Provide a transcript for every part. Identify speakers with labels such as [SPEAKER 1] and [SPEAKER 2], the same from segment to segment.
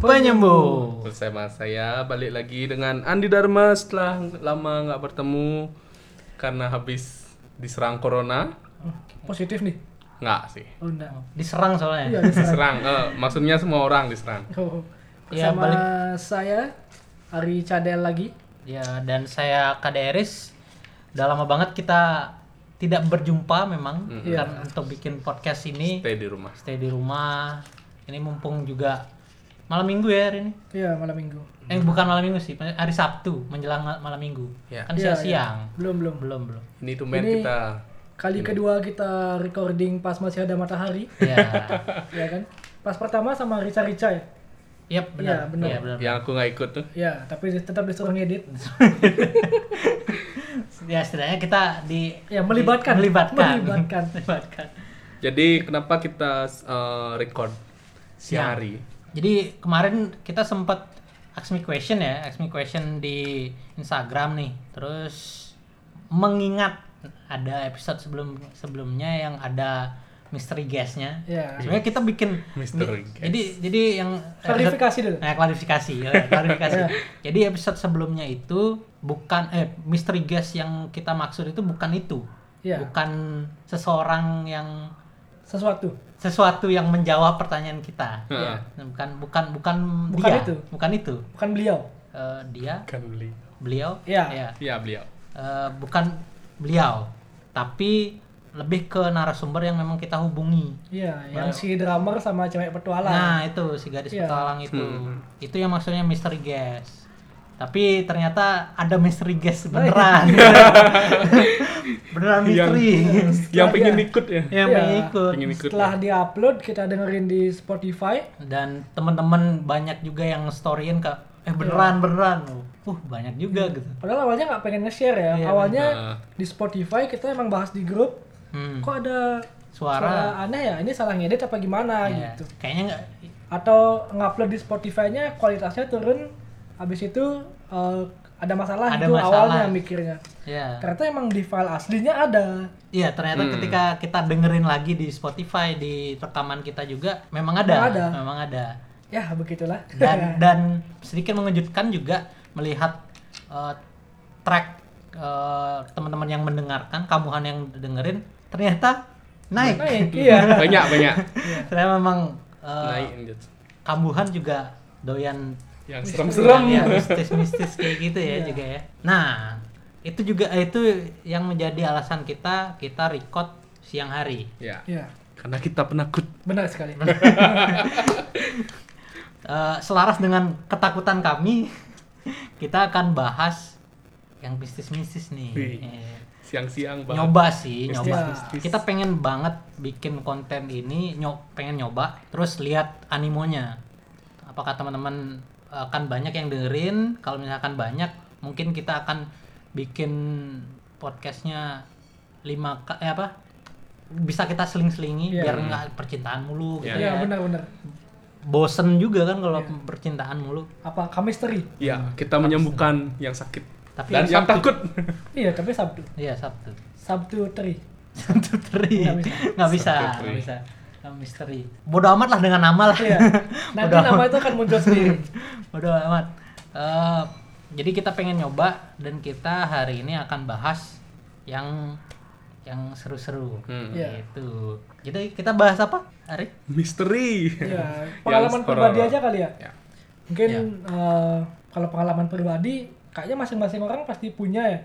[SPEAKER 1] penyembuh.
[SPEAKER 2] Bersama saya balik lagi dengan Andi Dharma setelah lama nggak bertemu karena habis diserang corona.
[SPEAKER 3] Positif nih.
[SPEAKER 2] Nggak sih.
[SPEAKER 3] Oh enggak.
[SPEAKER 1] Diserang
[SPEAKER 3] Iya,
[SPEAKER 1] soalnya.
[SPEAKER 3] diserang.
[SPEAKER 2] Diserang, eh, maksudnya semua orang diserang.
[SPEAKER 3] Oh.
[SPEAKER 1] Iya,
[SPEAKER 3] Bersama
[SPEAKER 1] balik.
[SPEAKER 3] saya Ari Cadel lagi.
[SPEAKER 1] Ya dan saya Kaderis. Udah lama banget kita tidak berjumpa memang
[SPEAKER 2] Mm.
[SPEAKER 3] Iya.
[SPEAKER 1] Karena untuk bikin podcast ini
[SPEAKER 2] Stay di rumah.
[SPEAKER 1] stay di rumah. Ini mumpung juga malam minggu ya hari ini.
[SPEAKER 3] Iya, malam Minggu.
[SPEAKER 1] Eh bukan malam minggu sih, hari Sabtu menjelang ma- malam minggu.
[SPEAKER 2] Ya.
[SPEAKER 1] Kan
[SPEAKER 3] Iya,
[SPEAKER 1] siang-siang.
[SPEAKER 3] iya. Belum, belum.
[SPEAKER 1] Belum belum.
[SPEAKER 2] Ini tumben
[SPEAKER 3] Ini-
[SPEAKER 2] kita.
[SPEAKER 3] Kali kedua kita recording pas masih ada matahari,
[SPEAKER 1] Ya.
[SPEAKER 3] ya kan? Pas pertama sama Rica-Rica ya.
[SPEAKER 1] Yap
[SPEAKER 3] Iya,
[SPEAKER 1] benar.
[SPEAKER 3] benar.
[SPEAKER 1] Iya, benar.
[SPEAKER 2] Yang aku nggak ikut tuh.
[SPEAKER 3] Ya, tapi tetap disuruh ngedit.
[SPEAKER 1] Ya setidaknya kita di
[SPEAKER 3] Ya, melibatkan.
[SPEAKER 1] di- melibatkan.
[SPEAKER 3] Melibatkan.
[SPEAKER 1] Melibatkan.
[SPEAKER 2] Jadi kenapa kita eh, record
[SPEAKER 1] Siang.
[SPEAKER 2] siang hari?
[SPEAKER 1] Jadi kemarin kita sempat ask me question ya, ask me question di Instagram nih. Terus mengingat ada episode sebelum sebelumnya yang ada misteri guestnya.
[SPEAKER 3] Ya.
[SPEAKER 1] Sebenarnya kita bikin
[SPEAKER 2] Misteri
[SPEAKER 1] di-
[SPEAKER 2] guest.
[SPEAKER 1] Jadi jadi yang
[SPEAKER 3] Klarifikasi Iya. dulu.
[SPEAKER 1] Nah, klarifikasi, ya, klarifikasi. Jadi episode sebelumnya itu bukan eh misteri guest yang kita maksud itu bukan itu.
[SPEAKER 3] Iya.
[SPEAKER 1] Bukan seseorang yang
[SPEAKER 3] Sesuatu.
[SPEAKER 1] sesuatu yang menjawab pertanyaan kita. Iya.
[SPEAKER 2] Heeh.
[SPEAKER 1] Bukan bukan bukan
[SPEAKER 3] Bukan
[SPEAKER 1] dia,
[SPEAKER 3] itu.
[SPEAKER 1] bukan itu.
[SPEAKER 3] Bukan beliau.
[SPEAKER 1] Eh, dia,
[SPEAKER 2] Kan beli.
[SPEAKER 1] beliau,
[SPEAKER 3] Iya.
[SPEAKER 1] ya.
[SPEAKER 2] Iya beliau.
[SPEAKER 1] Eh, bukan beliau, tapi lebih ke narasumber yang memang kita hubungi.
[SPEAKER 3] Iya, yang si drummer sama cewek petualang.
[SPEAKER 1] Nah itu si gadis
[SPEAKER 3] Iya.
[SPEAKER 1] petualang itu,
[SPEAKER 2] Hmm.
[SPEAKER 1] itu yang maksudnya misteri guest. Tapi ternyata ada misteri guest beneran, beneran
[SPEAKER 2] Yang-
[SPEAKER 1] misteri.
[SPEAKER 2] Yang
[SPEAKER 3] Setelah
[SPEAKER 2] pengen
[SPEAKER 3] dia-
[SPEAKER 2] ikut ya.
[SPEAKER 1] yang
[SPEAKER 3] Iya.
[SPEAKER 1] pengen ikut.
[SPEAKER 2] Pengen ikut. ya.
[SPEAKER 3] Setelah diupload kita dengerin di Spotify.
[SPEAKER 1] dan teman-teman banyak juga yang storyin ke eh
[SPEAKER 3] Iya.
[SPEAKER 1] beneran beneran uh banyak juga gitu
[SPEAKER 3] Padahal awalnya nggak pengen nge-share ya.
[SPEAKER 1] Iya,
[SPEAKER 3] awalnya
[SPEAKER 2] benar.
[SPEAKER 3] di Spotify kita emang bahas di grup.
[SPEAKER 1] Hmm,
[SPEAKER 3] Kok ada
[SPEAKER 1] suara,
[SPEAKER 3] aneh ya? Ini salah ngedit apa gimana
[SPEAKER 1] ya,
[SPEAKER 3] gitu?
[SPEAKER 1] kayaknya nggak
[SPEAKER 3] Atau ngupload di Spotify-nya kualitasnya turun. Habis itu eh, ada masalah
[SPEAKER 1] Ada
[SPEAKER 3] itu
[SPEAKER 1] masalah.
[SPEAKER 3] awalnya mikirnya.
[SPEAKER 1] ya
[SPEAKER 3] Ternyata emang di file aslinya ada.
[SPEAKER 1] Iya ternyata
[SPEAKER 2] Hmm.
[SPEAKER 1] ketika kita dengerin lagi di Spotify di rekaman kita juga memang ada
[SPEAKER 3] Memang ada.
[SPEAKER 1] memang ada
[SPEAKER 3] Ya begitulah.
[SPEAKER 1] dan dan sedikit mengejutkan juga melihat eh, track eh, teman-teman yang mendengarkan kamuhan yang dengerin ternyata naik
[SPEAKER 3] Naik, iya.
[SPEAKER 2] Banyak banyak.
[SPEAKER 1] ternyata memang eh,
[SPEAKER 2] Naik
[SPEAKER 1] kambuhan juga doyan
[SPEAKER 2] yang serem-serem.
[SPEAKER 1] ya, mistis-mistis kayak gitu ya juga ya. Nah, itu juga eh, itu yang menjadi alasan kita kita record siang hari.
[SPEAKER 2] Ya.
[SPEAKER 3] Iya,
[SPEAKER 2] Karena kita penakut.
[SPEAKER 3] benar sekali.
[SPEAKER 1] Eh, selaras dengan ketakutan kami, kita akan bahas yang mistis-mistis nih.
[SPEAKER 2] Wih.
[SPEAKER 1] Eh,
[SPEAKER 2] Siang-siang banget.
[SPEAKER 1] nyoba sih,
[SPEAKER 2] Mistis,
[SPEAKER 1] nyoba.
[SPEAKER 2] mistis.
[SPEAKER 1] Kita pengen banget bikin konten ini, nyo pengen nyoba, terus lihat animonya. Apakah teman-teman e, akan banyak yang dengerin? Kalau misalkan banyak, mungkin kita akan bikin podcastnya lima k eh apa? Bisa kita seling-selingi
[SPEAKER 3] Iya.
[SPEAKER 1] biar nggak percintaan mulu gitu
[SPEAKER 3] Iya,
[SPEAKER 1] ya.
[SPEAKER 3] benar-benar.
[SPEAKER 1] Bosen juga kan kalau percintaan mulu.
[SPEAKER 3] Apa kamisteri?
[SPEAKER 2] Ya, kita menyembuhkan yang sakit.
[SPEAKER 1] Tapi
[SPEAKER 2] dan yang
[SPEAKER 1] yang Sabtu-
[SPEAKER 2] takut.
[SPEAKER 3] Iya, tapi Sabtu.
[SPEAKER 1] Iya, Sabtu.
[SPEAKER 3] Sabtu teri.
[SPEAKER 1] Satu teri.
[SPEAKER 3] Nggak bisa.
[SPEAKER 1] Nggak bisa.
[SPEAKER 2] Satu teri.
[SPEAKER 1] Nggak bisa. Nggak misteri. Bodoh amat lah dengan nama lah.
[SPEAKER 3] Iya. Nanti
[SPEAKER 1] Bodoh
[SPEAKER 3] nama
[SPEAKER 1] amat.
[SPEAKER 3] itu akan muncul sendiri.
[SPEAKER 1] Bodoh amat. Eh, jadi kita pengen nyoba dan kita hari ini akan bahas yang yang seru-seru.
[SPEAKER 2] Hmm.
[SPEAKER 3] Iya.
[SPEAKER 1] Gitu. Jadi kita bahas apa, Ari?
[SPEAKER 2] Misteri.
[SPEAKER 3] Iya,
[SPEAKER 2] Yang
[SPEAKER 3] pengalaman
[SPEAKER 2] horor.
[SPEAKER 3] pribadi aja kali ya.
[SPEAKER 2] Ya.
[SPEAKER 3] Mungkin
[SPEAKER 1] Ya.
[SPEAKER 3] eh, kalau pengalaman pribadi, kayaknya masing-masing orang pasti punya ya.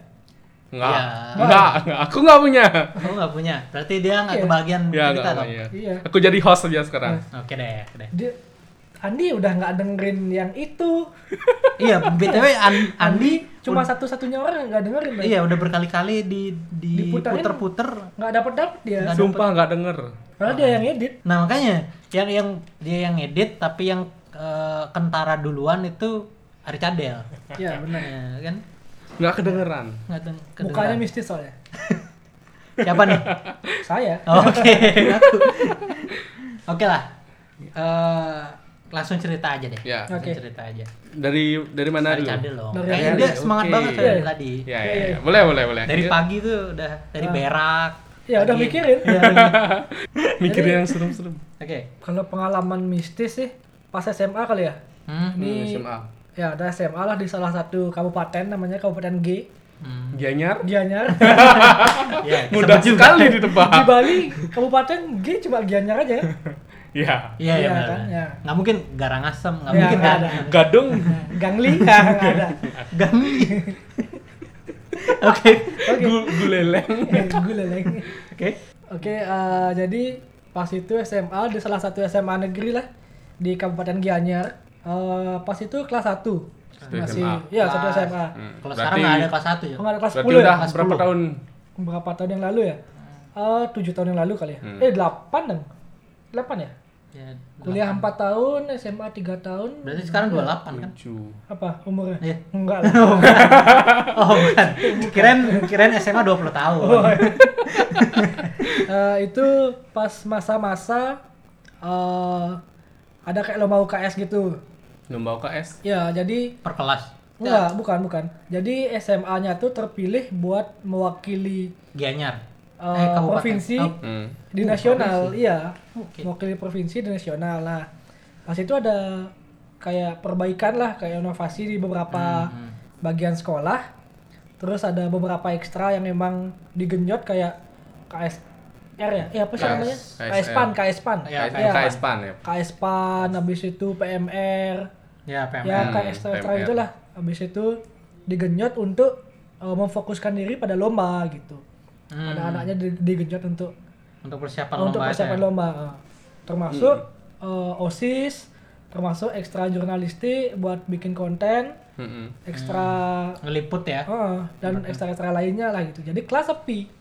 [SPEAKER 2] Enggak.
[SPEAKER 1] Ya.
[SPEAKER 2] Enggak, enggak. Aku enggak punya.
[SPEAKER 1] Aku nggak punya. Berarti dia nggak
[SPEAKER 3] Iya.
[SPEAKER 1] kebagian
[SPEAKER 2] Ya, enggak
[SPEAKER 1] cerita dong.
[SPEAKER 2] punya.
[SPEAKER 3] Iya.
[SPEAKER 2] Aku jadi host aja sekarang.
[SPEAKER 1] Oke deh, oke deh.
[SPEAKER 3] Dia, Andi udah nggak dengerin yang itu.
[SPEAKER 1] iya, btw An- Andi
[SPEAKER 3] Cuma satu-satunya orang yang nggak dengerin. Bang.
[SPEAKER 1] Iya, udah berkali-kali di di
[SPEAKER 3] Diputerin.
[SPEAKER 1] puter-puter
[SPEAKER 3] Nggak dapat dapat dia.
[SPEAKER 1] Nggak
[SPEAKER 2] Sumpah enggak denger.
[SPEAKER 3] Padahal dia yang edit.
[SPEAKER 1] Nah makanya yang yang dia yang edit tapi yang eh, kentara duluan itu Ari Cadel.
[SPEAKER 3] Iya benar.
[SPEAKER 1] Ya, kan?
[SPEAKER 2] Enggak kedengeran.
[SPEAKER 1] Nggak tuh kedengeran.
[SPEAKER 3] Mukanya mistis soalnya.
[SPEAKER 1] Siapa nih?
[SPEAKER 3] Saya.
[SPEAKER 1] Oh, Oke. Aku. Oke lah. Eh, langsung cerita aja deh.
[SPEAKER 2] Ya.
[SPEAKER 1] Langsung
[SPEAKER 3] Oke.
[SPEAKER 1] cerita aja.
[SPEAKER 2] Dari dari mana
[SPEAKER 1] Ari
[SPEAKER 2] dulu?
[SPEAKER 1] Cadel dong.
[SPEAKER 3] Dari
[SPEAKER 1] Kayaknya
[SPEAKER 3] Ari,
[SPEAKER 1] dia semangat
[SPEAKER 2] oke.
[SPEAKER 1] banget
[SPEAKER 3] Iya.
[SPEAKER 1] dari tadi.
[SPEAKER 2] Ya, ya, ya. Boleh, boleh, boleh.
[SPEAKER 1] Dari
[SPEAKER 2] Iya.
[SPEAKER 1] pagi tuh udah dari berak.
[SPEAKER 3] Ah. Ya udah
[SPEAKER 1] pagi.
[SPEAKER 3] mikirin.
[SPEAKER 1] Iya, udah mikir.
[SPEAKER 2] Mikirin yang serem-serem.
[SPEAKER 1] Oke.
[SPEAKER 3] Kalau pengalaman mistis sih pas SMA kali ya.
[SPEAKER 1] Hmm.
[SPEAKER 2] Hmm,
[SPEAKER 3] Ini
[SPEAKER 2] SMA.
[SPEAKER 3] ya ada SMA lah di salah satu kabupaten namanya Kabupaten G
[SPEAKER 1] Hmm.
[SPEAKER 2] Gianyar.
[SPEAKER 3] Gianyar.
[SPEAKER 1] Ya,
[SPEAKER 2] Mudah
[SPEAKER 3] Iya,
[SPEAKER 1] disebut juga.
[SPEAKER 2] sekali
[SPEAKER 3] di
[SPEAKER 2] ditebak.
[SPEAKER 3] Bali Kabupaten G cuma Gianyar aja ya.
[SPEAKER 2] ya.
[SPEAKER 1] Iya, iya,
[SPEAKER 3] Iya,
[SPEAKER 1] benar.
[SPEAKER 3] kan? Iya.
[SPEAKER 1] Nggak mungkin garang asem, nggak
[SPEAKER 3] Iya,
[SPEAKER 1] mungkin
[SPEAKER 3] nggak
[SPEAKER 1] kan.
[SPEAKER 3] ada.
[SPEAKER 2] Gadung.
[SPEAKER 3] Gangli nggak nggak ada.
[SPEAKER 1] Gami. Oke.
[SPEAKER 3] Oke.
[SPEAKER 2] Gu- Guleleng.
[SPEAKER 3] Eh, Gue leleng.
[SPEAKER 1] Oke.
[SPEAKER 3] Oke, eh, jadi pas itu SMA di salah satu SMA negeri lah di Kabupaten Gianyar. Eh, pas itu kelas 1. Masih
[SPEAKER 2] SMA.
[SPEAKER 3] ya satu
[SPEAKER 1] Iya, Kelas.
[SPEAKER 3] SMA.
[SPEAKER 2] Hmm,
[SPEAKER 1] Kalau
[SPEAKER 2] berarti-
[SPEAKER 1] sekarang nggak ada kelas 1 ya.
[SPEAKER 3] Oh, nggak ada kelas
[SPEAKER 2] Berarti
[SPEAKER 3] 10 ya?
[SPEAKER 2] udah
[SPEAKER 1] Kelas
[SPEAKER 2] berapa
[SPEAKER 1] 10.
[SPEAKER 2] tahun?
[SPEAKER 3] Berapa tahun yang lalu ya? Eh 7 tahun yang lalu kali ya.
[SPEAKER 2] Hmm.
[SPEAKER 3] Eh 8 dong. 8 ya?
[SPEAKER 1] Ya,
[SPEAKER 3] Kuliah 4 tahun, SMA 3 tahun.
[SPEAKER 1] Berarti sekarang 28 kan?
[SPEAKER 2] Tujuh.
[SPEAKER 3] Apa umurnya?
[SPEAKER 1] Iya.
[SPEAKER 3] Enggak lah.
[SPEAKER 1] Oh, bukan. Kirain kirain SMA 20 tahun.
[SPEAKER 3] Eh, itu pas masa-masa eh ada kayak lomba UKS gitu.
[SPEAKER 2] Lomba UKS.
[SPEAKER 3] Ya, jadi
[SPEAKER 1] Per kelas.
[SPEAKER 3] Enggak, bukan, bukan. Jadi SMA-nya tuh terpilih buat mewakili
[SPEAKER 1] Gianyar.
[SPEAKER 3] eh,
[SPEAKER 1] kabupaten.
[SPEAKER 3] provinsi
[SPEAKER 1] Oh,
[SPEAKER 2] Hmm.
[SPEAKER 3] di
[SPEAKER 1] Oh,
[SPEAKER 3] nasional,
[SPEAKER 1] provinsi.
[SPEAKER 3] iya.
[SPEAKER 1] Oke.
[SPEAKER 3] Mewakili provinsi di nasional. Nah, pas itu ada kayak perbaikan lah, kayak inovasi di beberapa
[SPEAKER 1] Hmm.
[SPEAKER 3] bagian sekolah. Terus ada beberapa ekstra yang memang digenjot kayak KSR ya? Eh, apa sih
[SPEAKER 2] KS,
[SPEAKER 3] namanya?
[SPEAKER 2] KSR.
[SPEAKER 3] KSPAN, KSPAN.
[SPEAKER 1] Iya,
[SPEAKER 2] KS-
[SPEAKER 1] Iya.
[SPEAKER 2] UKS PAN ya.
[SPEAKER 3] KSPAN, habis itu PMR,
[SPEAKER 1] Ya, PMR.
[SPEAKER 3] ya
[SPEAKER 2] Hmm,
[SPEAKER 3] kayak ekstra ekstra
[SPEAKER 2] PMR.
[SPEAKER 3] itulah habis itu digenjot untuk eh, memfokuskan diri pada lomba gitu
[SPEAKER 1] Hmm.
[SPEAKER 3] anak-anaknya di- digenjot untuk
[SPEAKER 1] Untuk persiapan
[SPEAKER 3] untuk
[SPEAKER 1] lomba.
[SPEAKER 3] persiapan
[SPEAKER 1] aja.
[SPEAKER 3] lomba eh. termasuk eh, osis termasuk ekstra jurnalistik buat bikin konten
[SPEAKER 2] Mm-mm.
[SPEAKER 3] ekstra
[SPEAKER 1] Ngeliput ya.
[SPEAKER 3] eh, dan ekstra ekstra lainnya lah gitu jadi kelas sepi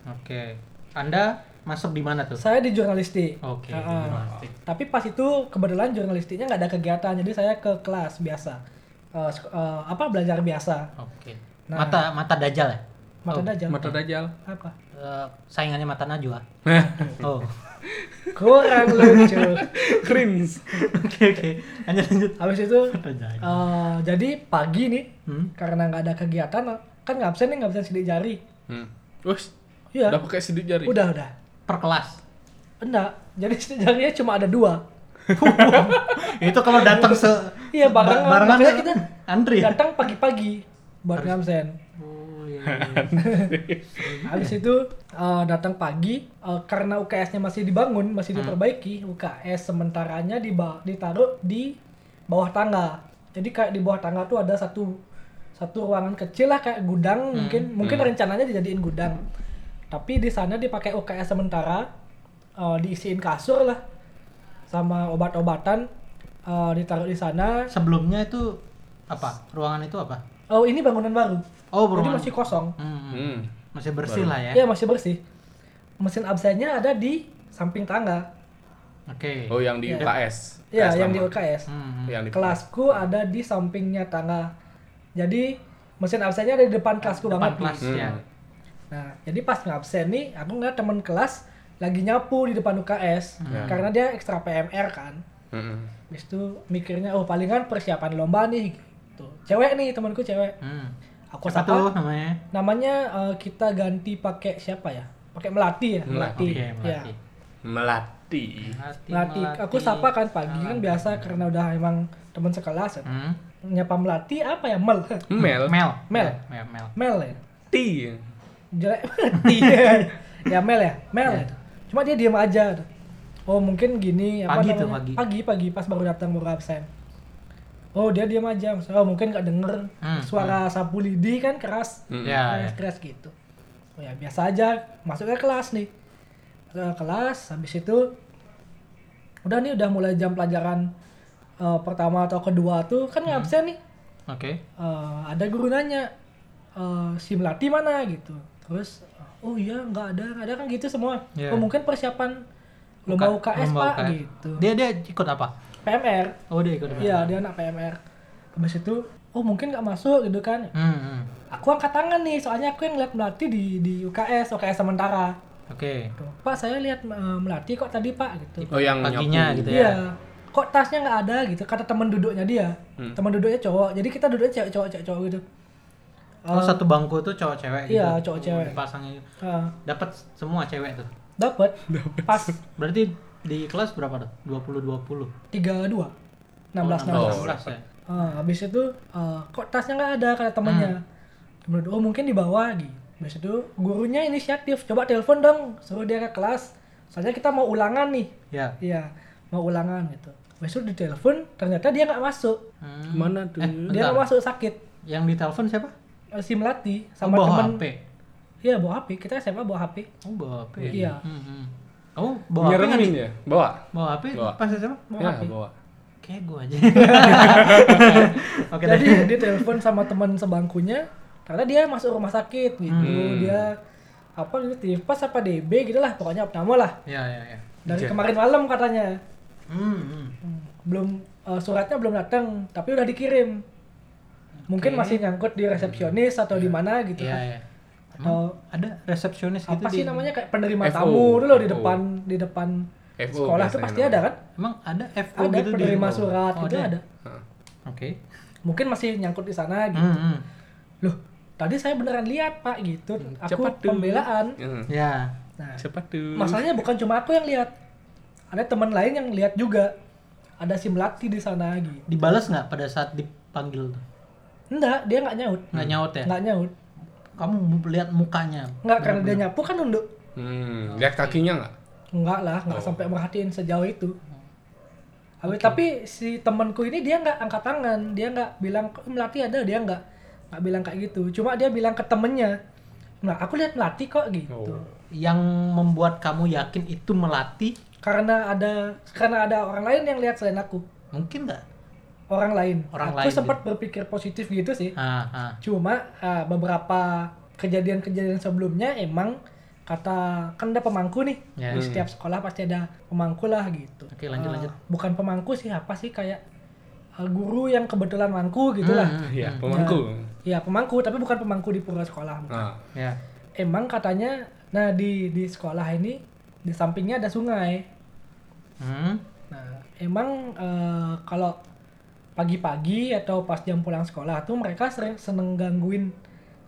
[SPEAKER 1] Oke. Anda masuk di mana tuh?
[SPEAKER 3] saya di jurnalistik
[SPEAKER 1] Oke.
[SPEAKER 3] Eh, eh.
[SPEAKER 1] jurnalistik.
[SPEAKER 3] tapi pas itu kebetulan jurnalistiknya nggak ada kegiatan jadi saya ke kelas biasa Eh, sek- eh, apa belajar biasa
[SPEAKER 1] Oke.
[SPEAKER 3] Nah.
[SPEAKER 1] Mata mata dajal ya?
[SPEAKER 3] mata
[SPEAKER 1] Oh,
[SPEAKER 3] dajal
[SPEAKER 2] Mata Dajjal.
[SPEAKER 3] apa
[SPEAKER 1] Eh, saingannya mata najwa. oh.
[SPEAKER 3] kurang lucu
[SPEAKER 2] Cringe.
[SPEAKER 1] Oke oke. Lanjut lanjut.
[SPEAKER 3] habis itu
[SPEAKER 1] Mata dajal.
[SPEAKER 3] eh, jadi pagi nih
[SPEAKER 1] Hmm.
[SPEAKER 3] karena nggak ada kegiatan kan ngabsen nih ngabsen sidik jari
[SPEAKER 2] Hmm. Wes,
[SPEAKER 3] iya
[SPEAKER 2] udah pakai sidik jari.
[SPEAKER 3] udah udah
[SPEAKER 1] Per kelas.
[SPEAKER 3] enggak jadi sidik jarinya cuma ada dua
[SPEAKER 1] itu kalau datang se
[SPEAKER 3] Iya, barengan.
[SPEAKER 1] barengan
[SPEAKER 3] Maksudnya kita-
[SPEAKER 1] antri ya?
[SPEAKER 3] datang pagi-pagi buat ngabsen
[SPEAKER 1] Oh, iya, iya.
[SPEAKER 3] habis itu eh, datang pagi eh, karena UKS-nya masih dibangun masih diperbaiki UKS sementaranya diba- ditaruh di bawah tangga jadi kayak di bawah tangga tuh ada satu satu ruangan kecil lah kayak gudang mungkin mungkin rencananya dijadiin gudang tapi di sana dipakai UKS sementara eh, diisiin kasur lah sama obat-obatan eh, ditaruh di sana
[SPEAKER 1] Sebelumnya itu apa? Ruangan itu apa?
[SPEAKER 3] oh ini bangunan baru
[SPEAKER 1] Oh,
[SPEAKER 3] jadi
[SPEAKER 1] ruangan.
[SPEAKER 3] masih kosong
[SPEAKER 1] Hmm,
[SPEAKER 2] Hmm.
[SPEAKER 1] masih bersih lah ya.
[SPEAKER 3] Iya masih bersih. Mesin absennya ada di samping tangga.
[SPEAKER 1] Oke.
[SPEAKER 2] Oh, yang di UKS.
[SPEAKER 3] Iya
[SPEAKER 2] UKS
[SPEAKER 3] yang di
[SPEAKER 2] lama.
[SPEAKER 3] UKS.
[SPEAKER 1] Hmm.
[SPEAKER 2] Yang di
[SPEAKER 3] Kelasku ada di sampingnya tangga. Jadi mesin absennya ada di depan kelasku
[SPEAKER 1] Depan
[SPEAKER 3] banget.
[SPEAKER 1] kelas
[SPEAKER 3] nih.
[SPEAKER 1] ya.
[SPEAKER 3] Nah jadi pas ngabsen nih, aku ngeliat teman kelas lagi nyapu di depan UKS
[SPEAKER 2] Hmm.
[SPEAKER 3] karena dia ekstra PMR kan.
[SPEAKER 2] Mm-mm.
[SPEAKER 3] Habis itu mikirnya oh palingan persiapan lomba nih. Gitu. Cewek nih temanku cewek.
[SPEAKER 1] Hmm.
[SPEAKER 3] Aku
[SPEAKER 1] Siapa
[SPEAKER 3] sapa.
[SPEAKER 1] tuh namanya?
[SPEAKER 3] Namanya eh, kita ganti pakai siapa ya? Pakai melati ya.
[SPEAKER 2] Melati.
[SPEAKER 1] Oke,
[SPEAKER 3] Iya.
[SPEAKER 1] Melati.
[SPEAKER 2] Melati.
[SPEAKER 1] Melati.
[SPEAKER 3] Melati, aku sapa kan pagi kan biasa karena udah emang teman sekelas.
[SPEAKER 1] Ah, Hmm.
[SPEAKER 3] Nyapa Melati apa ya? Mel.
[SPEAKER 2] Mel.
[SPEAKER 1] Mel. Iya,
[SPEAKER 3] Mel.
[SPEAKER 1] Mel. Mel.
[SPEAKER 3] Mel ya.
[SPEAKER 2] Melati.
[SPEAKER 3] Jelek Melati. ya Mel ya. Mel. Cuma dia diam aja. Oh mungkin gini
[SPEAKER 1] Pagi tuh, pagi.
[SPEAKER 3] pagi pagi pas baru datang baru absen. Oh dia diam aja. Maksudnya, Oh mungkin nggak denger
[SPEAKER 1] Hmm,
[SPEAKER 3] suara sapu lidi kan keras.
[SPEAKER 2] Mm-mm.
[SPEAKER 1] Ya, ya.
[SPEAKER 3] keras, keras gitu. Oh ya biasa aja, masuknya kelas nih. Masuk ke kelas, habis itu udah nih udah mulai jam pelajaran eh, pertama atau kedua tuh kan
[SPEAKER 1] Hmm.
[SPEAKER 3] nggak absen nih.
[SPEAKER 1] Oke.
[SPEAKER 3] Eh, ada guru nanya eh, si Melati mana gitu. Terus oh iya nggak ada, nggak ada kan gitu semua.
[SPEAKER 1] Iya.
[SPEAKER 3] Oh mungkin persiapan lomba
[SPEAKER 1] Buka-
[SPEAKER 3] UKS
[SPEAKER 1] lomba
[SPEAKER 3] pak
[SPEAKER 1] UKS.
[SPEAKER 3] gitu.
[SPEAKER 1] Dia dia ikut apa?
[SPEAKER 3] PMR,
[SPEAKER 1] Oh, dia ikut.
[SPEAKER 3] iya dia anak PMR. Habis itu oh mungkin nggak masuk gitu kan.
[SPEAKER 1] Hmm. hmm.
[SPEAKER 3] Aku angkat tangan nih, soalnya aku yang ngeliat Melati di di UKS, UKS oh, sementara.
[SPEAKER 1] Oke.
[SPEAKER 3] Gitu. Pak, saya lihat eh, melati kok tadi Pak gitu.
[SPEAKER 2] Oh, yang
[SPEAKER 1] Paginya
[SPEAKER 2] nyapu.
[SPEAKER 1] gitu
[SPEAKER 3] Iya.
[SPEAKER 1] ya.
[SPEAKER 3] Kok tasnya nggak ada gitu? Kata teman duduknya dia.
[SPEAKER 1] Hmm.
[SPEAKER 3] Teman duduknya cowok. Jadi kita duduknya cewek cowok cewek cowok gitu.
[SPEAKER 1] Oh, satu bangku tuh cowok-cewek gitu.
[SPEAKER 3] Eh, Iya, cowok-cewek.
[SPEAKER 1] Dipasangin.
[SPEAKER 3] Heeh.
[SPEAKER 1] Dapat semua cewek tuh.
[SPEAKER 3] dapat. eh, Pas
[SPEAKER 1] Berarti di kelas berapa tuh? 20 20.
[SPEAKER 3] 32. 16
[SPEAKER 2] Oh,
[SPEAKER 3] 16.
[SPEAKER 1] 16 ya.
[SPEAKER 3] Ah, habis itu eh, kok tasnya nggak ada kata
[SPEAKER 1] Hmm.
[SPEAKER 3] temannya. Menurut oh mungkin di bawah gitu. Habis itu gurunya inisiatif, coba telepon dong, suruh dia ke kelas. Soalnya kita mau ulangan nih.
[SPEAKER 1] Ya.
[SPEAKER 3] Iya, mau ulangan gitu. Habis itu ditelepon, ternyata dia nggak masuk.
[SPEAKER 1] Hmm.
[SPEAKER 2] Mana tuh?
[SPEAKER 1] Eh,
[SPEAKER 3] Dia
[SPEAKER 1] bentar.
[SPEAKER 3] nggak masuk sakit.
[SPEAKER 1] Yang ditelepon siapa?
[SPEAKER 3] Eh, Si Melati sama
[SPEAKER 1] Sama Oh, bawa
[SPEAKER 3] teman.
[SPEAKER 1] HP.
[SPEAKER 3] Iya, bawa HP. Kita SMA bawa HP.
[SPEAKER 1] Oh, bawa HP.
[SPEAKER 3] Iya.
[SPEAKER 1] Hmm, hmm. Kamu bawa HP nggak
[SPEAKER 2] Nyeremin
[SPEAKER 1] nih?
[SPEAKER 2] ya? Bawa?
[SPEAKER 1] Bawa HP
[SPEAKER 2] Bawa.
[SPEAKER 1] pas siapa?
[SPEAKER 3] Bawa
[SPEAKER 2] ya,
[SPEAKER 3] HP.
[SPEAKER 2] bawa.
[SPEAKER 1] Kayak gua aja. Oke,
[SPEAKER 3] Jadi
[SPEAKER 1] deh.
[SPEAKER 3] dia telepon sama teman sebangkunya, karena dia masuk rumah sakit gitu.
[SPEAKER 2] Hmm.
[SPEAKER 3] Dia apa gitu tifus apa DB gitu lah, pokoknya opname lah.
[SPEAKER 1] Ya, ya, ya.
[SPEAKER 3] Dari
[SPEAKER 2] Iya.
[SPEAKER 3] kemarin malam katanya.
[SPEAKER 1] Hmm, hmm.
[SPEAKER 3] Hmm, Belum eh, suratnya belum datang, tapi udah dikirim. Mungkin
[SPEAKER 1] Oke.
[SPEAKER 3] masih nyangkut di resepsionis atau di mana gitu.
[SPEAKER 1] Iya,
[SPEAKER 3] kan.
[SPEAKER 1] iya.
[SPEAKER 3] Atau
[SPEAKER 1] Ada resepsionis gitu
[SPEAKER 3] apa sih
[SPEAKER 1] di-
[SPEAKER 3] namanya kayak penerima
[SPEAKER 2] FO.
[SPEAKER 3] tamu dulu di
[SPEAKER 2] FO.
[SPEAKER 3] depan di depan
[SPEAKER 2] FO
[SPEAKER 3] sekolah tuh
[SPEAKER 2] biasanya
[SPEAKER 3] pasti
[SPEAKER 2] namanya.
[SPEAKER 3] ada kan?
[SPEAKER 1] Emang ada FO
[SPEAKER 3] Ada
[SPEAKER 1] gitu di
[SPEAKER 3] penerima
[SPEAKER 1] rumah?
[SPEAKER 3] surat
[SPEAKER 1] Oh,
[SPEAKER 3] gitu ada.
[SPEAKER 2] Hah.
[SPEAKER 1] Oke.
[SPEAKER 3] Mungkin masih nyangkut di sana gitu.
[SPEAKER 1] Hmm, hmm.
[SPEAKER 3] Loh, tadi saya beneran lihat, Pak gitu. Aku
[SPEAKER 2] Cepat tuh.
[SPEAKER 3] pembelaan.
[SPEAKER 2] Hmm.
[SPEAKER 1] Ya.
[SPEAKER 3] Nah,
[SPEAKER 2] Cepat tuh.
[SPEAKER 3] masalahnya bukan cuma aku yang lihat. Ada teman lain yang lihat juga. Ada si Melati di sana gitu.
[SPEAKER 1] Dibalas nggak pada saat dipanggil tuh?
[SPEAKER 3] Enggak, dia nggak nyaut.
[SPEAKER 1] Nggak nyaut ya?
[SPEAKER 3] Hmm. Nggak nyaut.
[SPEAKER 1] Kamu lihat mukanya.
[SPEAKER 3] Nggak, karena dia nyapu kan nunduk.
[SPEAKER 2] Hmm, lihat kakinya nggak?
[SPEAKER 3] Enggak lah,
[SPEAKER 1] Oh.
[SPEAKER 3] nggak sampai merhatiin sejauh itu. Habis- Tapi si temanku ini dia nggak angkat tangan, dia nggak bilang "Kok melati ada, dia nggak nggak bilang kayak gitu. Cuma dia bilang ke temennya, nah aku lihat melati kok gitu.
[SPEAKER 2] Oh.
[SPEAKER 1] Yang membuat kamu yakin itu melati
[SPEAKER 3] Karena ada karena ada orang lain yang lihat selain aku,
[SPEAKER 1] mungkin nggak?
[SPEAKER 3] orang lain.
[SPEAKER 1] Orang
[SPEAKER 3] aku
[SPEAKER 1] lain
[SPEAKER 3] sempat berpikir positif gitu sih.
[SPEAKER 1] Ah, ah.
[SPEAKER 3] Cuma ah, beberapa kejadian-kejadian sebelumnya emang kata kan ada pemangku nih
[SPEAKER 1] Ya.
[SPEAKER 3] di setiap sekolah pasti ada pemangku lah gitu.
[SPEAKER 1] Oke, lanjut,
[SPEAKER 3] Eh,
[SPEAKER 1] lanjut.
[SPEAKER 3] Bukan pemangku sih apa sih kayak eh, guru yang kebetulan mangku gitulah.
[SPEAKER 1] Hmm,
[SPEAKER 2] Iya,
[SPEAKER 1] hmm.
[SPEAKER 2] pemangku.
[SPEAKER 3] Ya pemangku tapi bukan pemangku di pura sekolah.
[SPEAKER 2] Nah,
[SPEAKER 1] Ya.
[SPEAKER 3] Emang katanya nah di di sekolah ini di sampingnya ada sungai.
[SPEAKER 1] Hmm.
[SPEAKER 3] Nah emang eh, kalau pagi-pagi atau pas jam pulang sekolah tuh mereka sering seneng gangguin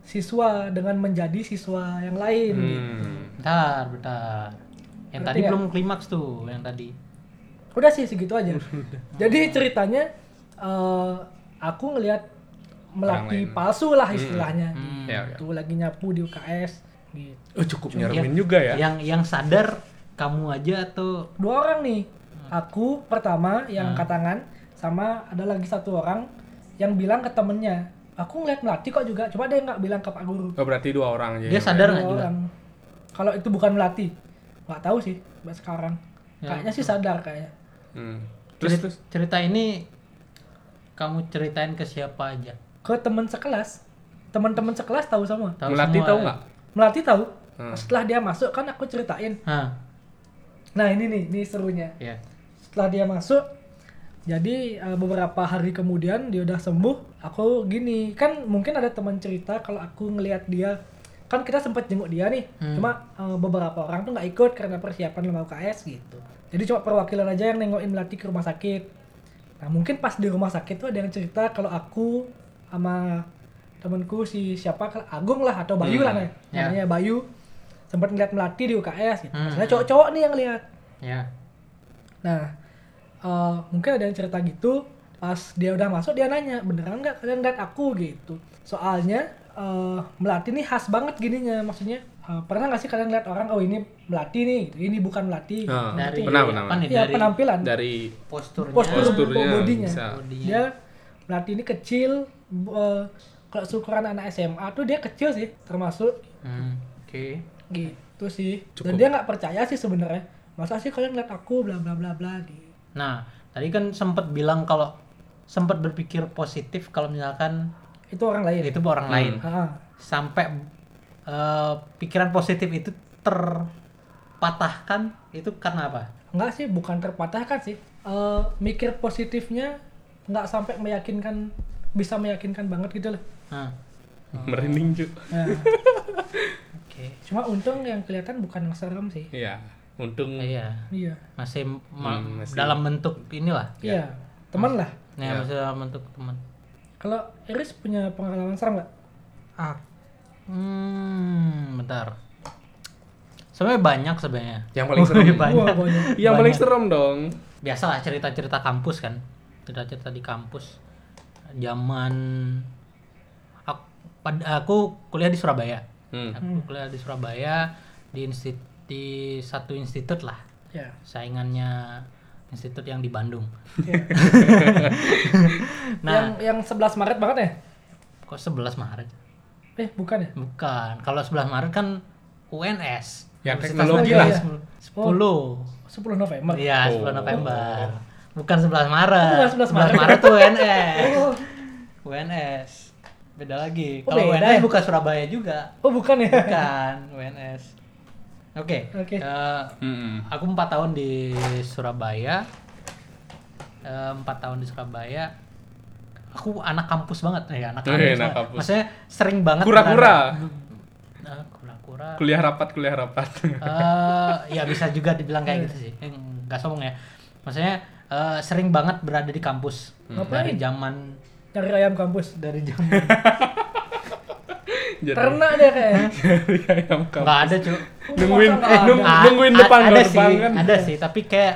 [SPEAKER 3] siswa dengan menjadi siswa yang lain. gitu.
[SPEAKER 2] hmm.
[SPEAKER 1] Bentar, bentar. Yang
[SPEAKER 3] Ngerti
[SPEAKER 1] tadi
[SPEAKER 3] nggak?
[SPEAKER 1] belum klimaks tuh, yang tadi.
[SPEAKER 3] udah sih segitu aja jadi ceritanya eh, aku ngelihat
[SPEAKER 2] Orang
[SPEAKER 3] melati
[SPEAKER 2] lain.
[SPEAKER 3] palsu lah istilahnya
[SPEAKER 1] Hmm.
[SPEAKER 2] Ya, ya.
[SPEAKER 3] itu lagi nyapu di UKS gitu.
[SPEAKER 2] Oh, cukup
[SPEAKER 1] iya.
[SPEAKER 2] nyeremin juga ya.
[SPEAKER 1] Yang yang sadar kamu aja atau
[SPEAKER 3] dua orang nih aku pertama yang angkat tangan sama ada lagi satu orang yang bilang ke temennya aku ngeliat melati kok juga coba dia nggak bilang ke pak guru
[SPEAKER 2] Oh, berarti dua orang aja.
[SPEAKER 1] dia
[SPEAKER 2] yang
[SPEAKER 1] sadar nggak
[SPEAKER 3] Dua
[SPEAKER 1] juga?
[SPEAKER 3] orang. kalau itu bukan melati nggak tahu sih sampai sekarang
[SPEAKER 1] Ya.
[SPEAKER 3] kayaknya sih sadar kayaknya
[SPEAKER 2] lihat. Hmm. Terus
[SPEAKER 1] Terus
[SPEAKER 2] terus.
[SPEAKER 1] cerita ini kamu ceritain ke siapa aja?
[SPEAKER 3] ke teman sekelas teman-teman sekelas tahu semua
[SPEAKER 1] Tahu
[SPEAKER 2] Melati
[SPEAKER 1] semua
[SPEAKER 2] tahu
[SPEAKER 1] ya?
[SPEAKER 2] nggak?
[SPEAKER 3] Melati tahu.
[SPEAKER 2] Hmm.
[SPEAKER 3] Setelah dia masuk kan aku ceritain.
[SPEAKER 1] Hah.
[SPEAKER 3] Nah ini nih, ini serunya.
[SPEAKER 1] Ya.
[SPEAKER 3] Setelah dia masuk, jadi eh, beberapa hari kemudian dia udah sembuh. Aku gini, kan mungkin ada teman cerita kalau aku ngelihat dia, kan kita sempet jenguk dia nih.
[SPEAKER 1] Hmm.
[SPEAKER 3] Cuma eh, beberapa orang tuh nggak ikut karena persiapan lembaga UKS gitu. Jadi cuma perwakilan aja yang nengokin Melati ke rumah sakit. Nah mungkin pas di rumah sakit tuh ada yang cerita kalau aku sama temanku si siapa Agung lah atau Bayu
[SPEAKER 2] Hmm.
[SPEAKER 3] lah namanya.
[SPEAKER 1] Ya.
[SPEAKER 3] namanya Bayu sempat ngeliat melati di UKS gitu.
[SPEAKER 1] Hmm.
[SPEAKER 3] Maksudnya cowok-cowok nih yang lihat.
[SPEAKER 1] Ya.
[SPEAKER 3] Nah, eh, mungkin ada yang cerita gitu. Pas dia udah masuk dia nanya beneran nggak kalian lihat aku gitu. Soalnya eh, melati nih khas banget gininya. Maksudnya eh, pernah nggak sih kalian lihat orang oh ini melati nih, gitu. ini bukan melati. Gitu.
[SPEAKER 2] Nah,
[SPEAKER 1] Dari
[SPEAKER 2] pernah, pernah,
[SPEAKER 1] apa
[SPEAKER 2] pernah.
[SPEAKER 1] nih?
[SPEAKER 3] Iya
[SPEAKER 1] dari
[SPEAKER 3] penampilan.
[SPEAKER 2] Dari
[SPEAKER 1] posturnya.
[SPEAKER 3] Postur.
[SPEAKER 2] posturnya
[SPEAKER 3] bodinya.
[SPEAKER 2] bisa.
[SPEAKER 1] Bodinya.
[SPEAKER 3] Dia melatih ini kecil. bu- eh, kalau syukuran anak SMA tuh dia kecil sih, termasuk
[SPEAKER 1] Hmm, Oke.
[SPEAKER 3] gitu sih. Dan
[SPEAKER 2] Cukup.
[SPEAKER 3] dia nggak percaya sih sebenarnya. Masa sih kalian ngeliat aku bla bla bla bla gitu.
[SPEAKER 1] Nah, tadi kan sempat bilang kalau sempat berpikir positif kalau misalkan
[SPEAKER 3] Itu orang lain.
[SPEAKER 1] itu orang
[SPEAKER 2] Hmm.
[SPEAKER 1] lain.
[SPEAKER 3] Ah,
[SPEAKER 1] Sampai eh, pikiran positif itu terpatahkan itu karena apa?
[SPEAKER 3] nggak sih, bukan terpatahkan sih. Eh, mikir positifnya nggak sampai meyakinkan, bisa meyakinkan banget gitu loh.
[SPEAKER 1] Nah,
[SPEAKER 2] Merinding juga.
[SPEAKER 3] Nah,
[SPEAKER 1] oke.
[SPEAKER 3] cuma untung yang kelihatan bukan yang serem sih.
[SPEAKER 2] Iya. Untung
[SPEAKER 1] Iya,
[SPEAKER 3] Iya,
[SPEAKER 1] masih, ma-
[SPEAKER 2] Hmm, masih-
[SPEAKER 1] dalam bentuk inilah.
[SPEAKER 3] iya, teman lah.
[SPEAKER 2] Ya.
[SPEAKER 1] Ya, masih dalam bentuk teman.
[SPEAKER 3] Kalau Iris punya pengalaman serem nggak?
[SPEAKER 1] Hmm, bentar. Sebenarnya banyak sebenarnya.
[SPEAKER 2] yang paling serem.
[SPEAKER 1] Oh, iya, Banyak.
[SPEAKER 3] Wah, banyak.
[SPEAKER 2] yang paling serem dong.
[SPEAKER 1] Biasalah cerita-cerita kampus kan. cerita-cerita di kampus zaman aku, pad- aku kuliah di Surabaya
[SPEAKER 2] Hmm.
[SPEAKER 1] aku kuliah di Surabaya di institut di satu institut lah
[SPEAKER 3] ya
[SPEAKER 1] saingannya institut yang di Bandung
[SPEAKER 3] ya. yang
[SPEAKER 1] nah
[SPEAKER 3] yang 11 Maret banget ya
[SPEAKER 1] kok 11 Maret
[SPEAKER 3] eh bukan ya
[SPEAKER 1] bukan kalau 11 Maret kan UNS
[SPEAKER 2] Ya,
[SPEAKER 1] Universitas
[SPEAKER 2] teknologi
[SPEAKER 1] Negeri
[SPEAKER 3] lah.
[SPEAKER 1] ya, 10
[SPEAKER 3] 10 November
[SPEAKER 1] Iya,
[SPEAKER 2] Oh.
[SPEAKER 1] 10 November. Bukan 11 Maret.
[SPEAKER 3] Oh, bukan 11 Maret.
[SPEAKER 1] tuh UNS.
[SPEAKER 3] oh,
[SPEAKER 1] UNS. Beda lagi.
[SPEAKER 3] Oh,
[SPEAKER 1] Kalau
[SPEAKER 3] beda
[SPEAKER 1] UNS
[SPEAKER 3] ya?
[SPEAKER 1] bukan Surabaya juga.
[SPEAKER 3] oh bukan ya
[SPEAKER 1] Bukan UNS. Oke.
[SPEAKER 3] Oke.
[SPEAKER 1] eh,
[SPEAKER 2] Mm-mm.
[SPEAKER 1] aku 4 tahun di Surabaya. Eh, 4 tahun di Surabaya. Aku anak kampus banget. Eh, anak
[SPEAKER 2] Eh,
[SPEAKER 1] kampus.
[SPEAKER 2] anak
[SPEAKER 1] banget.
[SPEAKER 2] kampus.
[SPEAKER 1] Maksudnya sering banget
[SPEAKER 2] Kura-kura.
[SPEAKER 1] berada- Eh, kura-kura.
[SPEAKER 2] Kuliah rapat, kuliah rapat.
[SPEAKER 1] eh ya bisa juga dibilang kayak gitu sih. Eh, Nggak sombong ya. Maksudnya eh, sering banget berada di kampus
[SPEAKER 2] Hmm.
[SPEAKER 1] dari
[SPEAKER 3] Ngapain?
[SPEAKER 1] zaman
[SPEAKER 3] Cari ayam kampus
[SPEAKER 1] dari zaman
[SPEAKER 2] Jadi
[SPEAKER 3] ternak deh kayaknya
[SPEAKER 2] ayam kampus.
[SPEAKER 1] nggak ada cuy.
[SPEAKER 2] Nungguin,
[SPEAKER 3] Masa nggak
[SPEAKER 2] eh, nung-
[SPEAKER 1] Ah,
[SPEAKER 2] nungguin
[SPEAKER 1] a-
[SPEAKER 2] depan
[SPEAKER 1] ada
[SPEAKER 2] ada
[SPEAKER 1] sih,
[SPEAKER 2] depan kan.
[SPEAKER 1] ada sih, tapi kayak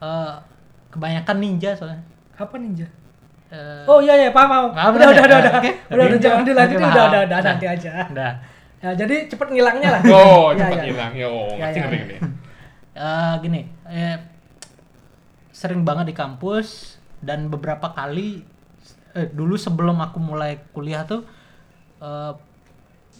[SPEAKER 1] eh, kebanyakan ninja soalnya.
[SPEAKER 3] apa ninja
[SPEAKER 1] Eh,
[SPEAKER 3] oh iya iya paham paham
[SPEAKER 1] Paham,
[SPEAKER 3] udah udah
[SPEAKER 1] paham ya?
[SPEAKER 3] udah
[SPEAKER 1] Nah,
[SPEAKER 3] udah
[SPEAKER 1] oke.
[SPEAKER 3] udah udah
[SPEAKER 1] Ninja.
[SPEAKER 3] jangan dilanjutin udah
[SPEAKER 1] Oke, paham.
[SPEAKER 3] udah udah
[SPEAKER 1] Nah.
[SPEAKER 3] nanti aja
[SPEAKER 1] udah.
[SPEAKER 3] ya jadi cepet ngilangnya lah
[SPEAKER 2] Oh,
[SPEAKER 3] Ya,
[SPEAKER 1] Iya,
[SPEAKER 2] cepat
[SPEAKER 3] ya.
[SPEAKER 2] hilang. Yo, ngerti
[SPEAKER 3] Ya, ya.
[SPEAKER 2] ngerti ngerti.
[SPEAKER 1] Eh, gini, eh, sering banget di kampus dan beberapa kali eh, dulu sebelum aku mulai kuliah tuh eh,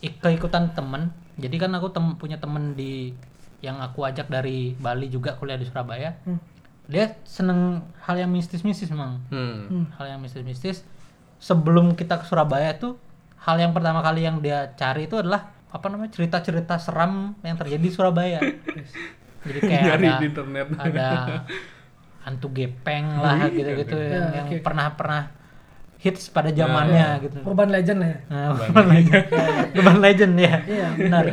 [SPEAKER 1] ik- keikutan temen. Jadi kan aku tem- punya temen di yang aku ajak dari Bali juga kuliah di Surabaya.
[SPEAKER 3] Hmm.
[SPEAKER 1] Dia seneng hal yang mistis-mistis memang,
[SPEAKER 2] Hmm.
[SPEAKER 1] hal yang mistis-mistis. Sebelum kita ke Surabaya tuh hal yang pertama kali yang dia cari itu adalah apa namanya cerita-cerita seram yang terjadi di Surabaya. Jadi kayak
[SPEAKER 2] Nyari
[SPEAKER 1] ada-
[SPEAKER 2] di internet.
[SPEAKER 1] ada hantu gepeng lah
[SPEAKER 2] Wih,
[SPEAKER 1] gitu-gitu
[SPEAKER 2] ada.
[SPEAKER 1] yang
[SPEAKER 3] Ya,
[SPEAKER 1] yang
[SPEAKER 3] oke.
[SPEAKER 1] pernah-pernah hits pada zamannya
[SPEAKER 2] Iya.
[SPEAKER 1] gitu.
[SPEAKER 3] urban legend lah ya
[SPEAKER 1] Nah, Urban Legend. Urban Legend ya.
[SPEAKER 3] Iya.
[SPEAKER 1] benar.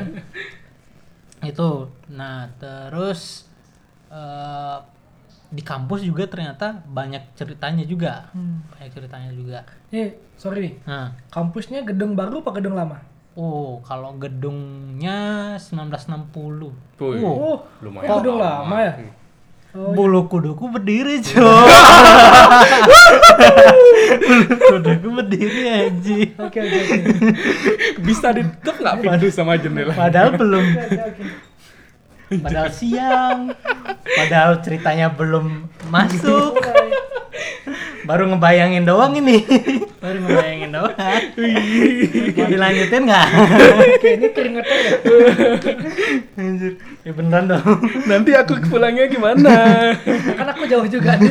[SPEAKER 1] Itu. Nah, terus eh, di kampus juga ternyata banyak ceritanya juga.
[SPEAKER 3] Hmm.
[SPEAKER 1] Banyak ceritanya juga.
[SPEAKER 3] Nih, sorry nih.
[SPEAKER 1] Nah,
[SPEAKER 3] Kampusnya gedung baru apa gedung lama?
[SPEAKER 1] oh, kalau gedungnya 1960.
[SPEAKER 2] Puy.
[SPEAKER 1] Oh, Hmm.
[SPEAKER 3] Oh,
[SPEAKER 2] Lumayan
[SPEAKER 3] oh, gedung
[SPEAKER 2] lama.
[SPEAKER 3] lama ya? Oh, iya.
[SPEAKER 1] Bulu kuduku berdiri, cuy. Bulu kuduku berdiri aja.
[SPEAKER 3] Oke, oke, oke.
[SPEAKER 2] Bisa ditutup nggak pintu sama jendela?
[SPEAKER 1] Padahal belum,
[SPEAKER 3] Oke, oke.
[SPEAKER 1] padahal siang, padahal ceritanya belum masuk. Baru ngebayangin doang ini. Baru ngebayangin doang. Mau dilanjutin nggak?
[SPEAKER 3] Oke, ini keringetan ya?
[SPEAKER 1] Anjir, ya beneran dong.
[SPEAKER 2] Nanti aku pulangnya gimana?
[SPEAKER 3] Kan aku jauh juga nih.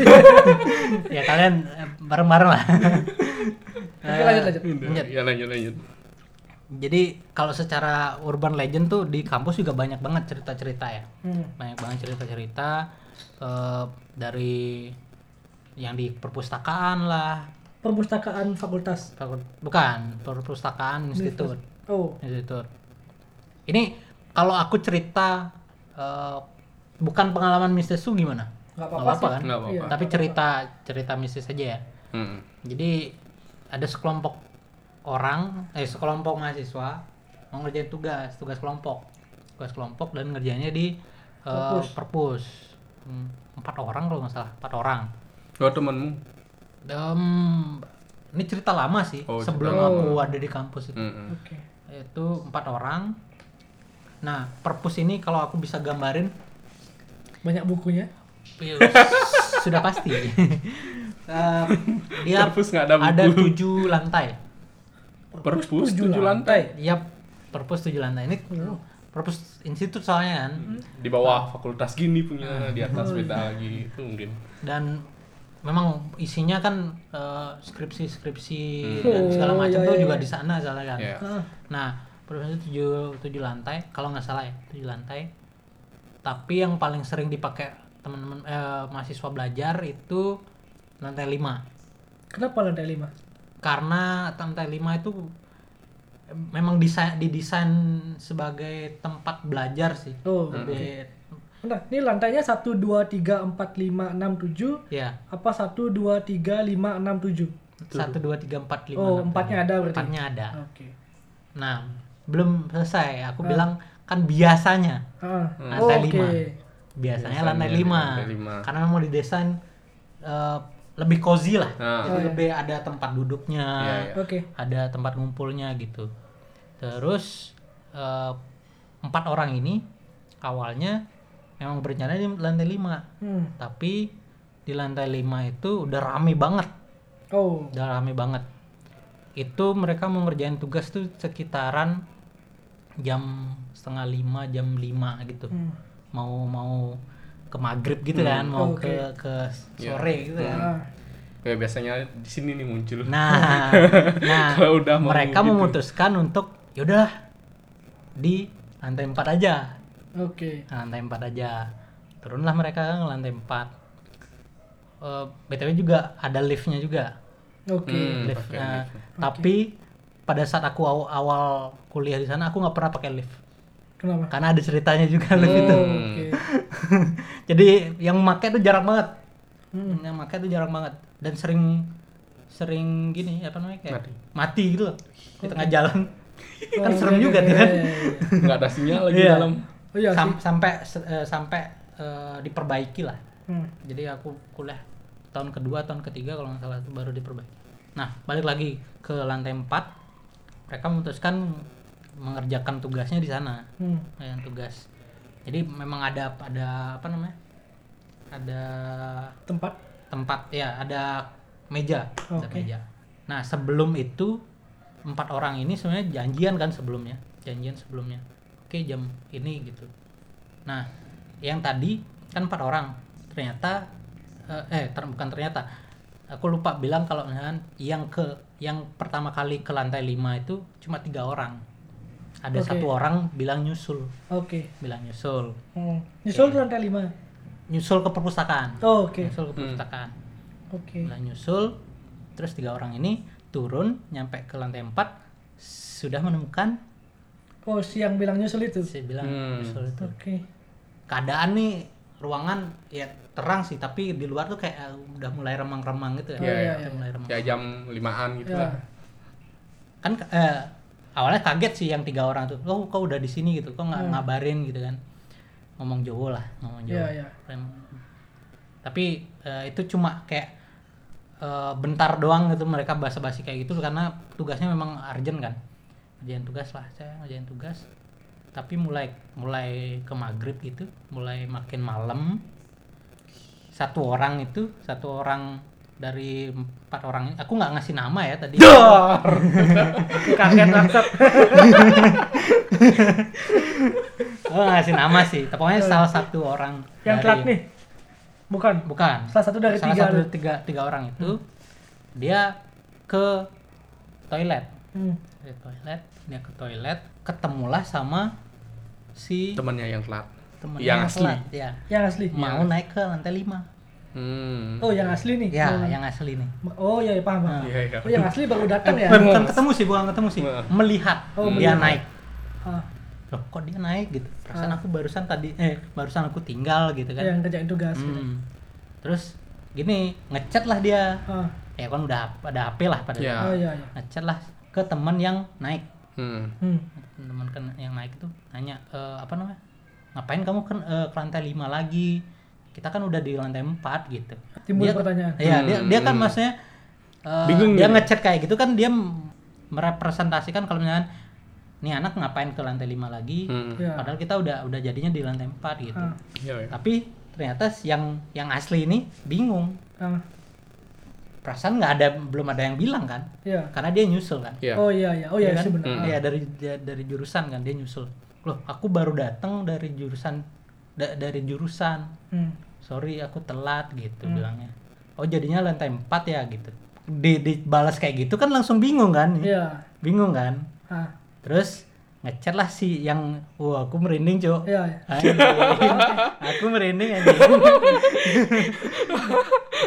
[SPEAKER 1] Ya kalian eh, bareng-bareng lah.
[SPEAKER 3] Oke, lanjut, lanjut.
[SPEAKER 1] Lanjut.
[SPEAKER 2] ya lanjut lanjut.
[SPEAKER 1] Jadi kalau secara urban legend tuh di kampus juga banyak banget cerita-cerita ya.
[SPEAKER 3] Hmm.
[SPEAKER 1] banyak banget cerita-cerita eh, dari yang di perpustakaan lah
[SPEAKER 3] Perpustakaan fakultas.
[SPEAKER 1] Fakul- bukan perpustakaan institut
[SPEAKER 3] Oh,
[SPEAKER 1] institut ini kalau aku cerita eh, bukan pengalaman mistis tuh gimana
[SPEAKER 3] nggak
[SPEAKER 1] Nggak
[SPEAKER 3] apa-apa sih.
[SPEAKER 1] kan
[SPEAKER 2] Nggak apa-apa.
[SPEAKER 3] Iya.
[SPEAKER 1] tapi cerita cerita mistis aja ya
[SPEAKER 2] Hmm.
[SPEAKER 1] jadi ada sekelompok orang eh sekelompok mahasiswa mau ngerjain tugas tugas kelompok tugas kelompok dan ngerjainnya di eh,
[SPEAKER 3] Perpus.
[SPEAKER 1] perpus Hmm, empat orang kalau nggak salah empat orang
[SPEAKER 2] Oh temanmu.
[SPEAKER 1] Dem, ini cerita lama sih
[SPEAKER 2] Oh, cerita
[SPEAKER 1] sebelum
[SPEAKER 3] lama.
[SPEAKER 1] aku ada di kampus itu
[SPEAKER 2] Hmm.
[SPEAKER 3] Oke.
[SPEAKER 1] itu empat orang nah perpus ini kalau aku bisa gambarin
[SPEAKER 3] Banyak bukunya.
[SPEAKER 1] Iya, sudah pasti Eh, dia
[SPEAKER 2] Perpus nggak ada buku.
[SPEAKER 1] ada tujuh lantai
[SPEAKER 2] Perpus
[SPEAKER 3] tujuh
[SPEAKER 2] tujuh lantai.
[SPEAKER 1] Iya, perpus tujuh lantai ini
[SPEAKER 3] Iya.
[SPEAKER 1] perpus institut soalnya kan.
[SPEAKER 3] Hmm.
[SPEAKER 2] Di bawah fakultas gini punya, di atas beda lagi itu mungkin.
[SPEAKER 1] Dan memang isinya kan eh, skripsi-skripsi
[SPEAKER 2] Hmm.
[SPEAKER 1] dan segala
[SPEAKER 3] Oh,
[SPEAKER 1] macam
[SPEAKER 3] iya,
[SPEAKER 1] tuh
[SPEAKER 3] iya,
[SPEAKER 1] juga
[SPEAKER 3] iya.
[SPEAKER 1] di sana soalnya kan.
[SPEAKER 2] Iya.
[SPEAKER 3] Ah,
[SPEAKER 1] Nah, perpus itu tujuh, tujuh lantai kalau nggak salah ya, tujuh lantai. Tapi yang paling sering dipakai teman-teman eh, mahasiswa belajar itu lantai 5.
[SPEAKER 3] kenapa lantai lima?
[SPEAKER 1] Karena lantai 5 itu eh, memang desain didesain sebagai tempat belajar sih.
[SPEAKER 3] Oh,
[SPEAKER 2] Hmm.
[SPEAKER 1] Lebih-
[SPEAKER 3] bentar. Ini lantainya satu, dua, tiga, empat, lima, enam, tujuh.
[SPEAKER 1] Ya,
[SPEAKER 3] Apa satu, dua, tiga, lima, enam, tujuh?
[SPEAKER 1] satu dua tiga empat lima.
[SPEAKER 3] Oh,
[SPEAKER 1] enam,
[SPEAKER 3] empatnya
[SPEAKER 1] tujuh.
[SPEAKER 3] ada berarti? Oh.
[SPEAKER 1] Empatnya ada.
[SPEAKER 3] Oke.
[SPEAKER 1] Nah, belum selesai. Aku bilang kan biasanya
[SPEAKER 3] Ah,
[SPEAKER 1] Hmm. lantai
[SPEAKER 3] oke.
[SPEAKER 1] lima. Biasanya,
[SPEAKER 2] Biasanya
[SPEAKER 1] lantai
[SPEAKER 2] di
[SPEAKER 1] lima.
[SPEAKER 2] lantai lima.
[SPEAKER 1] Karena memang didesain eh, lebih cozy lah.
[SPEAKER 2] Nah.
[SPEAKER 1] Jadi
[SPEAKER 3] Oh, iya.
[SPEAKER 1] lebih ada tempat duduknya,
[SPEAKER 2] Iya, iya.
[SPEAKER 3] Oke.
[SPEAKER 1] ada tempat ngumpulnya gitu. Terus eh, empat orang ini awalnya memang berencana di lantai lima,
[SPEAKER 3] Hmm.
[SPEAKER 1] tapi di lantai lima itu udah rame banget,
[SPEAKER 3] Oh.
[SPEAKER 1] udah rame banget. Itu mereka mau ngerjain tugas tuh sekitaran jam setengah lima, jam lima gitu
[SPEAKER 3] Hmm.
[SPEAKER 1] mau mau ke maghrib gitu kan
[SPEAKER 3] Oh,
[SPEAKER 1] mau
[SPEAKER 3] Oke.
[SPEAKER 1] ke ke
[SPEAKER 2] Iya.
[SPEAKER 1] sore gitu kan
[SPEAKER 3] Ah.
[SPEAKER 2] Kayak Ya. biasanya di sini nih muncul.
[SPEAKER 1] nah nah
[SPEAKER 2] Kalau udah mau
[SPEAKER 1] mereka
[SPEAKER 2] gitu.
[SPEAKER 1] memutuskan untuk yaudah di lantai empat aja Nah,
[SPEAKER 3] Oke.
[SPEAKER 1] lantai empat aja turunlah mereka ke lantai empat Eh, btw juga ada liftnya juga
[SPEAKER 3] Oke.
[SPEAKER 2] Hmm,
[SPEAKER 1] lift
[SPEAKER 2] pakai
[SPEAKER 1] Nah,
[SPEAKER 2] lift.
[SPEAKER 1] tapi pada saat aku aw- awal kuliah di sana aku nggak pernah pakai lift
[SPEAKER 3] Kenapa?
[SPEAKER 1] karena ada ceritanya juga lift
[SPEAKER 2] Hmm.
[SPEAKER 1] itu
[SPEAKER 3] Oh, Oke.
[SPEAKER 1] jadi yang memakai itu jarang banget
[SPEAKER 3] Hmm.
[SPEAKER 1] yang pakai itu jarang banget dan sering sering gini apa namanya kayak
[SPEAKER 2] Mati.
[SPEAKER 1] mati, gitu loh di tengah jalan kan
[SPEAKER 3] Oh, iya,
[SPEAKER 1] serem juga
[SPEAKER 3] iya,
[SPEAKER 1] tuh
[SPEAKER 3] iya,
[SPEAKER 1] kan
[SPEAKER 3] iya, iya.
[SPEAKER 2] Nggak ada sinyal lagi
[SPEAKER 1] Iya.
[SPEAKER 2] dalam.
[SPEAKER 3] Oh iya sih.
[SPEAKER 1] Sam- sampai se- eh, sampai eh, diperbaiki lah
[SPEAKER 3] Hmm.
[SPEAKER 1] jadi aku kuliah tahun kedua tahun ketiga kalau nggak salah itu baru diperbaiki nah balik lagi ke lantai 4 mereka memutuskan mengerjakan tugasnya di sana
[SPEAKER 3] Hmm.
[SPEAKER 1] yang tugas jadi memang ada ada apa namanya ada
[SPEAKER 3] Tempat.
[SPEAKER 1] tempat ya ada meja ada
[SPEAKER 3] Oke.
[SPEAKER 1] meja nah sebelum itu empat orang ini sebenarnya janjian kan sebelumnya janjian sebelumnya oke jam ini gitu nah yang tadi kan empat orang ternyata eh, eh ter- bukan ternyata aku lupa bilang kalau misalkan yang ke yang pertama kali ke lantai lima itu cuma tiga orang ada
[SPEAKER 3] Oke.
[SPEAKER 1] satu orang bilang nyusul
[SPEAKER 3] Oke.
[SPEAKER 1] bilang nyusul
[SPEAKER 3] Hmm. Nyusul tuh lantai lima.
[SPEAKER 1] nyusul ke perpustakaan
[SPEAKER 3] Oh, Oke.
[SPEAKER 1] nyusul ke perpustakaan
[SPEAKER 3] Oke.
[SPEAKER 1] Mulai nyusul, terus tiga orang ini turun, nyampe ke lantai 4 sudah menemukan
[SPEAKER 3] Oh si yang bilang nyusul itu.
[SPEAKER 1] saya bilang
[SPEAKER 2] Hmm.
[SPEAKER 1] nyusul itu.
[SPEAKER 3] Oke.
[SPEAKER 1] Keadaan nih ruangan ya terang sih, tapi di luar tuh kayak eh, udah mulai remang-remang gitu ya.
[SPEAKER 2] Iya, iya,
[SPEAKER 1] Udah
[SPEAKER 3] iya.
[SPEAKER 1] mulai remang.
[SPEAKER 2] Kayak jam limaan gitu
[SPEAKER 3] Ya.
[SPEAKER 2] lah.
[SPEAKER 1] Kan eh, awalnya kaget sih yang tiga orang tuh. Loh, kok udah di sini gitu? Kok nggak ngabarin gitu kan? Ngomong Jawa lah, ngomong Jawa.
[SPEAKER 3] Iya, iya.
[SPEAKER 1] Rem- Tapi eh, itu cuma kayak eh, bentar doang gitu mereka basa-basi kayak gitu karena tugasnya memang urgent kan ngerjain tugas lah saya ngerjain tugas tapi mulai mulai ke maghrib gitu mulai makin malam satu orang itu satu orang dari empat orang ini aku nggak ngasih nama ya tadi
[SPEAKER 3] Kaget langsung.
[SPEAKER 1] aku nggak ngasih nama sih tapi pokoknya salah satu orang
[SPEAKER 3] Yang
[SPEAKER 1] dari-
[SPEAKER 3] telat nih. Bukan.
[SPEAKER 1] bukan
[SPEAKER 3] Salah satu dari tiga
[SPEAKER 1] salah
[SPEAKER 3] Hmm.
[SPEAKER 1] satu
[SPEAKER 3] tuh.
[SPEAKER 1] dari tiga tiga orang itu dia ke toilet
[SPEAKER 3] Hmm.
[SPEAKER 1] ke toilet dia ke toilet ketemulah sama si
[SPEAKER 2] Temannya yang telat.
[SPEAKER 1] temennya
[SPEAKER 2] yang asli.
[SPEAKER 1] telat, ya
[SPEAKER 3] Yang asli.
[SPEAKER 1] mau naik ke lantai 5
[SPEAKER 2] Hmm.
[SPEAKER 3] Oh yang asli nih.
[SPEAKER 1] ya
[SPEAKER 3] Oh.
[SPEAKER 1] yang Hmm. asli nih
[SPEAKER 3] Oh iya iya, paham. paham.
[SPEAKER 2] Iya, iya.
[SPEAKER 3] Oh yang asli baru datang ya.
[SPEAKER 1] Eh, bukan ketemu sih bukan ketemu sih
[SPEAKER 2] Nah.
[SPEAKER 1] melihat
[SPEAKER 3] Oh, melihat.
[SPEAKER 1] dia naik
[SPEAKER 3] Ah,
[SPEAKER 1] loh kok dia naik gitu perasaan aku barusan tadi eh barusan aku tinggal gitu kan
[SPEAKER 3] yang kerjain tugas. gitu.
[SPEAKER 1] Hmm. terus gini ngechat lah dia
[SPEAKER 3] Ah,
[SPEAKER 1] ya kan udah ada HP lah pada
[SPEAKER 2] Iya.
[SPEAKER 3] Oh iya iya.
[SPEAKER 1] ngechat lah ke teman yang naik
[SPEAKER 2] Hmm.
[SPEAKER 3] Hmm.
[SPEAKER 1] teman kan yang naik itu nanya e, apa namanya ngapain kamu kan e, ke lantai 5 lagi kita kan udah di lantai 4 gitu
[SPEAKER 3] Timbul
[SPEAKER 1] Dia-
[SPEAKER 3] pertanyaan.
[SPEAKER 1] iya dia dia kan
[SPEAKER 2] Hmm.
[SPEAKER 1] maksudnya e,
[SPEAKER 2] Bingung
[SPEAKER 1] dia
[SPEAKER 2] gitu.
[SPEAKER 1] ngechat kayak gitu kan dia merepresentasikan kalau misalnya nih anak ngapain ke lantai 5 lagi
[SPEAKER 2] Hmm.
[SPEAKER 3] Iya.
[SPEAKER 1] padahal kita udah udah jadinya di lantai 4 gitu
[SPEAKER 3] Ah,
[SPEAKER 2] Iya, iya.
[SPEAKER 1] tapi ternyata yang yang asli ini bingung
[SPEAKER 3] ah,
[SPEAKER 1] perasaan nggak ada belum ada yang bilang kan
[SPEAKER 3] iya.
[SPEAKER 1] karena dia nyusul kan
[SPEAKER 2] Iya.
[SPEAKER 3] Oh iya iya. Oh iya
[SPEAKER 1] Iya kan?
[SPEAKER 3] sih benar.
[SPEAKER 2] Hmm.
[SPEAKER 1] Iya dari da- dari jurusan kan dia nyusul. Loh, aku baru datang dari jurusan da- dari jurusan.
[SPEAKER 3] Hmm.
[SPEAKER 1] Sorry aku telat gitu bilangnya. Oh, jadinya lantai 4 ya gitu. Di dibalas kayak gitu kan langsung bingung kan?
[SPEAKER 3] Iya.
[SPEAKER 1] Bingung kan?
[SPEAKER 3] Ah,
[SPEAKER 1] Terus ngechat lah si yang wah aku merinding, Cok.
[SPEAKER 3] iya. iya.
[SPEAKER 1] Anjing. aku merinding aja.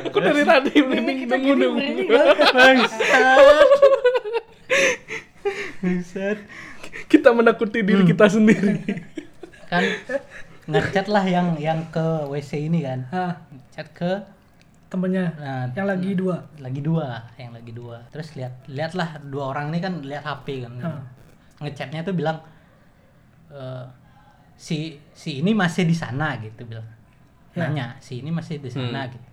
[SPEAKER 2] Aku dari tadi merinding
[SPEAKER 3] Iya, kita gini
[SPEAKER 2] nemu
[SPEAKER 3] merinding
[SPEAKER 1] Bangsat. Bangsat.
[SPEAKER 2] Kita menakuti diri kita sendiri.
[SPEAKER 1] kan ngechat lah yang yang ke WC ini kan
[SPEAKER 3] Ah,
[SPEAKER 1] ngechat ke
[SPEAKER 3] temennya
[SPEAKER 1] nah,
[SPEAKER 3] yang lagi dua.
[SPEAKER 1] lagi dua yang lagi dua terus lihat lihatlah dua orang ini kan lihat HP kan
[SPEAKER 3] Hmm.
[SPEAKER 1] ngechatnya tuh bilang eh, si si ini masih di sana gitu bilang nanya si ini masih di sana gitu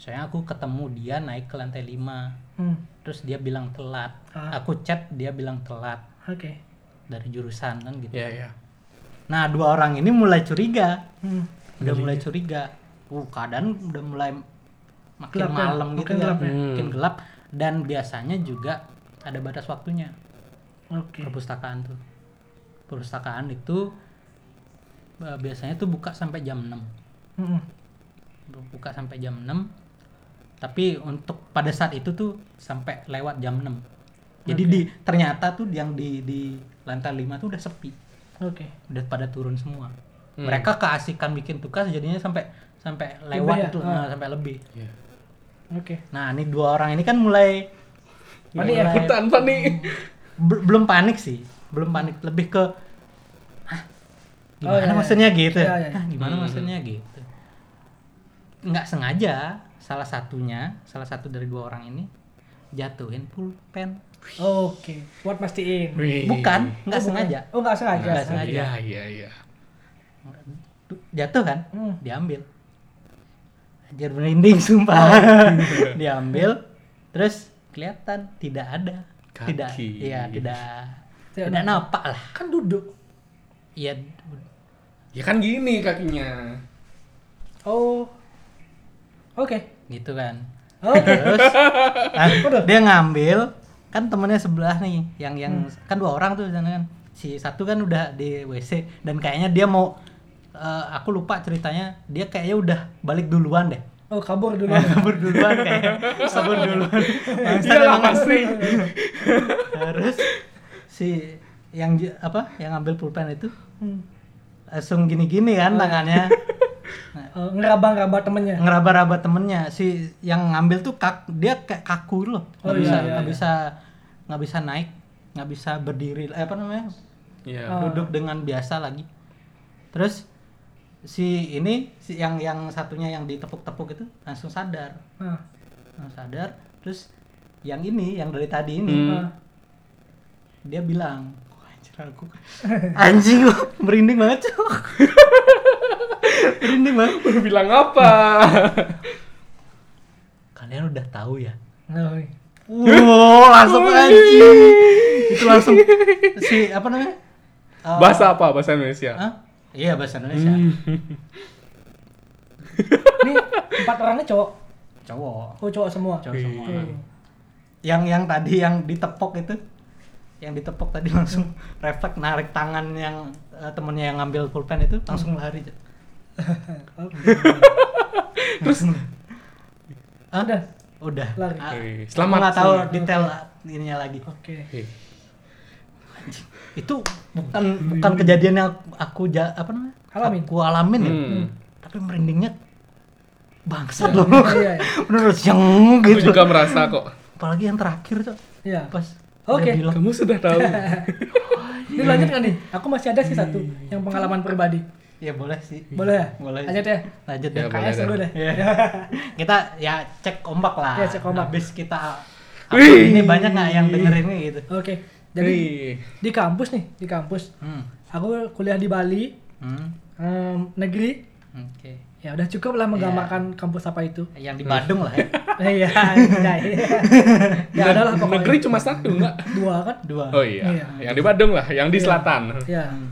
[SPEAKER 1] soalnya aku ketemu dia naik ke lantai 5
[SPEAKER 3] Hmm,
[SPEAKER 1] terus dia bilang telat
[SPEAKER 3] Hah?
[SPEAKER 1] aku chat dia bilang telat
[SPEAKER 3] oke.
[SPEAKER 1] dari jurusan kan gitu
[SPEAKER 2] Iya, iya.
[SPEAKER 1] nah dua orang ini mulai curiga
[SPEAKER 3] Hmm.
[SPEAKER 1] udah mulai curiga uh keadaan udah mulai makin
[SPEAKER 3] Gelap ya?
[SPEAKER 1] malam
[SPEAKER 3] Makin
[SPEAKER 1] gitu ya
[SPEAKER 3] gelap ya?
[SPEAKER 1] makin gelap dan biasanya juga ada batas waktunya
[SPEAKER 3] Oke.
[SPEAKER 1] perpustakaan tuh perpustakaan itu eh, biasanya tuh buka sampai jam 6
[SPEAKER 3] Mm-mm.
[SPEAKER 1] buka sampai jam 6 tapi untuk pada saat itu tuh sampai lewat jam 6 jadi di ternyata tuh yang di di lantai 5 tuh udah sepi
[SPEAKER 3] Oke.
[SPEAKER 1] udah pada turun semua
[SPEAKER 2] Hmm.
[SPEAKER 1] mereka keasikan bikin tugas jadinya sampai sampai
[SPEAKER 3] ya?
[SPEAKER 1] lewat tuh
[SPEAKER 3] Ah.
[SPEAKER 1] nah, sampai lebih
[SPEAKER 2] Iya.
[SPEAKER 3] Oke.
[SPEAKER 1] nah ini dua orang ini kan mulai
[SPEAKER 3] Panik
[SPEAKER 2] Iya.
[SPEAKER 3] ya?
[SPEAKER 1] mulai-
[SPEAKER 2] Hutan panik.
[SPEAKER 1] Bel- belum panik sih belum panik lebih ke "Hah,
[SPEAKER 3] Oh,
[SPEAKER 1] gimana
[SPEAKER 3] iya, iya.
[SPEAKER 1] maksudnya gitu
[SPEAKER 3] Iya, iya.
[SPEAKER 1] "Hah, gimana
[SPEAKER 2] Hmm.
[SPEAKER 1] maksudnya gitu nggak sengaja salah satunya salah satu dari dua orang ini jatuhin pulpen
[SPEAKER 3] Oke. Buat pastiin.
[SPEAKER 2] Wih.
[SPEAKER 1] bukan
[SPEAKER 3] Oh,
[SPEAKER 1] nggak
[SPEAKER 3] bukan.
[SPEAKER 1] sengaja
[SPEAKER 3] Oh, nggak sengaja.
[SPEAKER 1] Nggak sengaja.
[SPEAKER 2] Iya, iya, iya.
[SPEAKER 1] jatuh kan
[SPEAKER 3] Hmm.
[SPEAKER 1] diambil ajar merinding sumpah diambil terus kelihatan tidak ada tidak
[SPEAKER 2] Kaki.
[SPEAKER 1] iya tidak
[SPEAKER 3] Tidak
[SPEAKER 1] tidak,
[SPEAKER 3] nampak.
[SPEAKER 1] nampak lah
[SPEAKER 3] Kan duduk.
[SPEAKER 1] iya
[SPEAKER 2] Ya kan gini kakinya.
[SPEAKER 3] Oh. Oke.
[SPEAKER 1] gitu kan
[SPEAKER 3] Oke.
[SPEAKER 1] terus nah,
[SPEAKER 3] Waduh.
[SPEAKER 1] dia ngambil kan temennya sebelah nih yang yang kan dua orang tuh di sana kan si satu kan udah di WC dan kayaknya dia mau eh, aku lupa ceritanya dia kayaknya udah balik duluan deh
[SPEAKER 3] Oh, kabur dulu.
[SPEAKER 1] kabur duluan kayaknya kabur duluan
[SPEAKER 3] Iya,
[SPEAKER 1] Bangsat
[SPEAKER 2] Iyalah,
[SPEAKER 1] emang
[SPEAKER 2] pasti.
[SPEAKER 1] terus si yang j- apa yang ngambil pulpen itu
[SPEAKER 3] Hmm.
[SPEAKER 1] langsung gini-gini kan tangannya
[SPEAKER 3] Eh, ngeraba-ngeraba temennya.
[SPEAKER 1] ngeraba-raba temennya si yang ngambil tuh kak dia kayak kaku loh nggak
[SPEAKER 3] Oh, iya,
[SPEAKER 1] bisa
[SPEAKER 3] iya,
[SPEAKER 1] nggak
[SPEAKER 3] iya.
[SPEAKER 1] bisa nggak bisa naik nggak bisa berdiri eh, apa namanya
[SPEAKER 2] Iya.
[SPEAKER 3] Ah.
[SPEAKER 1] duduk dengan biasa lagi terus si ini si yang yang satunya yang ditepuk-tepuk itu langsung sadar
[SPEAKER 3] Ah.
[SPEAKER 1] langsung sadar terus yang ini yang dari tadi ini
[SPEAKER 2] Hmm.
[SPEAKER 3] Ah.
[SPEAKER 1] dia bilang "Wah, anjir aku anjing gua merinding banget cok merinding banget
[SPEAKER 2] Lu bilang apa?
[SPEAKER 1] kalian udah tahu ya
[SPEAKER 3] Oh, iya.
[SPEAKER 1] Wow, langsung anjing. Itu langsung si apa namanya?
[SPEAKER 3] Oh.
[SPEAKER 1] Eh,
[SPEAKER 2] Bahasa apa? Bahasa Indonesia.
[SPEAKER 1] Hah? Iya bahasa Indonesia.
[SPEAKER 3] Ini empat orangnya cowok.
[SPEAKER 1] Cowok.
[SPEAKER 3] Oh, cowok semua.
[SPEAKER 1] Cowok semua.
[SPEAKER 3] Oke.
[SPEAKER 1] Yang yang tadi yang ditepok itu, yang ditepok tadi langsung refleks narik tangan yang eh, temennya yang ngambil pulpen itu langsung lari.
[SPEAKER 3] Oke.
[SPEAKER 1] Terus
[SPEAKER 3] Udah.
[SPEAKER 1] udah.
[SPEAKER 3] Lari.
[SPEAKER 1] Ah,
[SPEAKER 2] Oke,
[SPEAKER 1] aku
[SPEAKER 2] selamat,
[SPEAKER 1] nggak tahu
[SPEAKER 2] selamat.
[SPEAKER 1] detail ininya lagi.
[SPEAKER 3] Oke.
[SPEAKER 2] Hei.
[SPEAKER 1] Itu bukan
[SPEAKER 3] Iya.
[SPEAKER 1] bukan kejadian yang aku ja- apa namanya?
[SPEAKER 3] Alamin.
[SPEAKER 1] Aku alamin ya.
[SPEAKER 2] Hmm.
[SPEAKER 1] Tapi merindingnya bangsat loh.
[SPEAKER 3] Iya, iya.
[SPEAKER 1] Menurut yang
[SPEAKER 2] Aku
[SPEAKER 1] gitu.
[SPEAKER 2] juga merasa kok.
[SPEAKER 1] Apalagi yang terakhir tuh
[SPEAKER 3] Iya.
[SPEAKER 1] pas
[SPEAKER 3] Oke.
[SPEAKER 1] dia bilang
[SPEAKER 2] Kamu sudah tahu.
[SPEAKER 3] Ini lanjut nggak nih? Aku masih ada
[SPEAKER 1] Iya,
[SPEAKER 3] sih satu yang pengalaman pribadi.
[SPEAKER 1] ya boleh sih.
[SPEAKER 3] Boleh ya?
[SPEAKER 1] Boleh.
[SPEAKER 3] Lanjut ya.
[SPEAKER 1] Lanjut
[SPEAKER 2] Ya,
[SPEAKER 1] ya.
[SPEAKER 2] boleh.
[SPEAKER 3] KS dulu
[SPEAKER 2] dah.
[SPEAKER 3] deh.
[SPEAKER 1] kita ya cek ombak lah.
[SPEAKER 3] Ya, cek ombak.
[SPEAKER 1] Habis kita
[SPEAKER 2] Wih.
[SPEAKER 1] ini banyak nggak yang dengerin ini gitu.
[SPEAKER 3] Oke. Jadi
[SPEAKER 2] Jadi,
[SPEAKER 3] di kampus nih, di kampus.
[SPEAKER 1] Hmm.
[SPEAKER 3] Aku kuliah di Bali,
[SPEAKER 1] Hmm.
[SPEAKER 3] em, negeri.
[SPEAKER 1] Oke.
[SPEAKER 3] Ya udah cukup lah menggambarkan kampus apa itu.
[SPEAKER 1] Yang di Bandung lah ya.
[SPEAKER 3] Iya, anjay. ya ada lah pokoknya.
[SPEAKER 2] negeri cuma satu enggak?
[SPEAKER 3] dua kan?
[SPEAKER 1] Dua.
[SPEAKER 2] Oh iya.
[SPEAKER 3] Iya.
[SPEAKER 2] Yang di Bandung lah, yang di selatan.
[SPEAKER 3] Ya.
[SPEAKER 1] Hmm.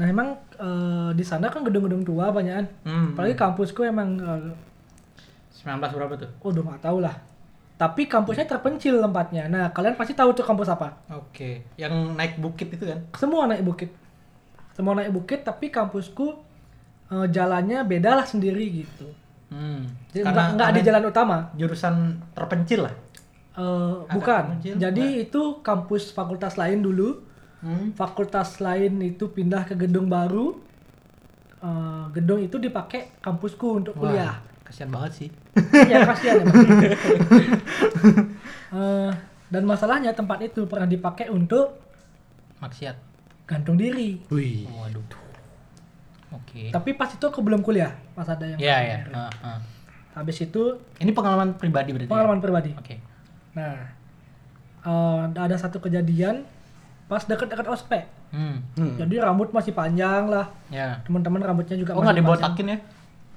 [SPEAKER 3] Nah, emang eh, di sana kan gedung-gedung tua banyakan.
[SPEAKER 1] Hmm.
[SPEAKER 3] Apalagi kampusku emang eh,
[SPEAKER 1] 19 berapa tuh?
[SPEAKER 3] oh udah nggak tahu lah. Tapi kampusnya terpencil tempatnya. Nah, kalian pasti tahu tuh kampus apa?
[SPEAKER 1] Oke. Yang naik bukit itu kan?
[SPEAKER 3] semua naik bukit semua naik bukit tapi kampusku eh, jalannya beda lah sendiri gitu
[SPEAKER 1] Hmm.
[SPEAKER 3] jadi nggak nggak di jalan utama
[SPEAKER 1] jurusan terpencil lah.
[SPEAKER 3] Eh,
[SPEAKER 1] Ada
[SPEAKER 3] bukan
[SPEAKER 1] terpencil,
[SPEAKER 3] jadi itu kampus fakultas lain dulu
[SPEAKER 1] Hmm.
[SPEAKER 3] fakultas lain itu pindah ke gedung baru Eh, gedung itu dipakai kampusku untuk kuliah
[SPEAKER 1] kasihan banget sih.
[SPEAKER 3] Iya kasihan emang. Eh, dan masalahnya tempat itu pernah dipakai untuk
[SPEAKER 1] Maksiat.
[SPEAKER 3] gantung diri
[SPEAKER 2] Wih.
[SPEAKER 1] Waduh. Oke.
[SPEAKER 3] tapi pas itu aku belum kuliah pas ada yang
[SPEAKER 1] Ya ya. Ah, ah.
[SPEAKER 3] habis itu
[SPEAKER 1] Ini pengalaman pribadi berarti. ya?
[SPEAKER 3] pengalaman pribadi
[SPEAKER 1] Oke.
[SPEAKER 3] Nah, eh, ada satu kejadian pas deket-deket ospek.
[SPEAKER 1] Hmm.
[SPEAKER 2] Hmm.
[SPEAKER 3] Jadi rambut masih panjang lah.
[SPEAKER 1] Ya.
[SPEAKER 3] Teman-teman rambutnya juga
[SPEAKER 1] Oh
[SPEAKER 3] masih
[SPEAKER 1] nggak
[SPEAKER 3] panjang.
[SPEAKER 1] dibotakin ya?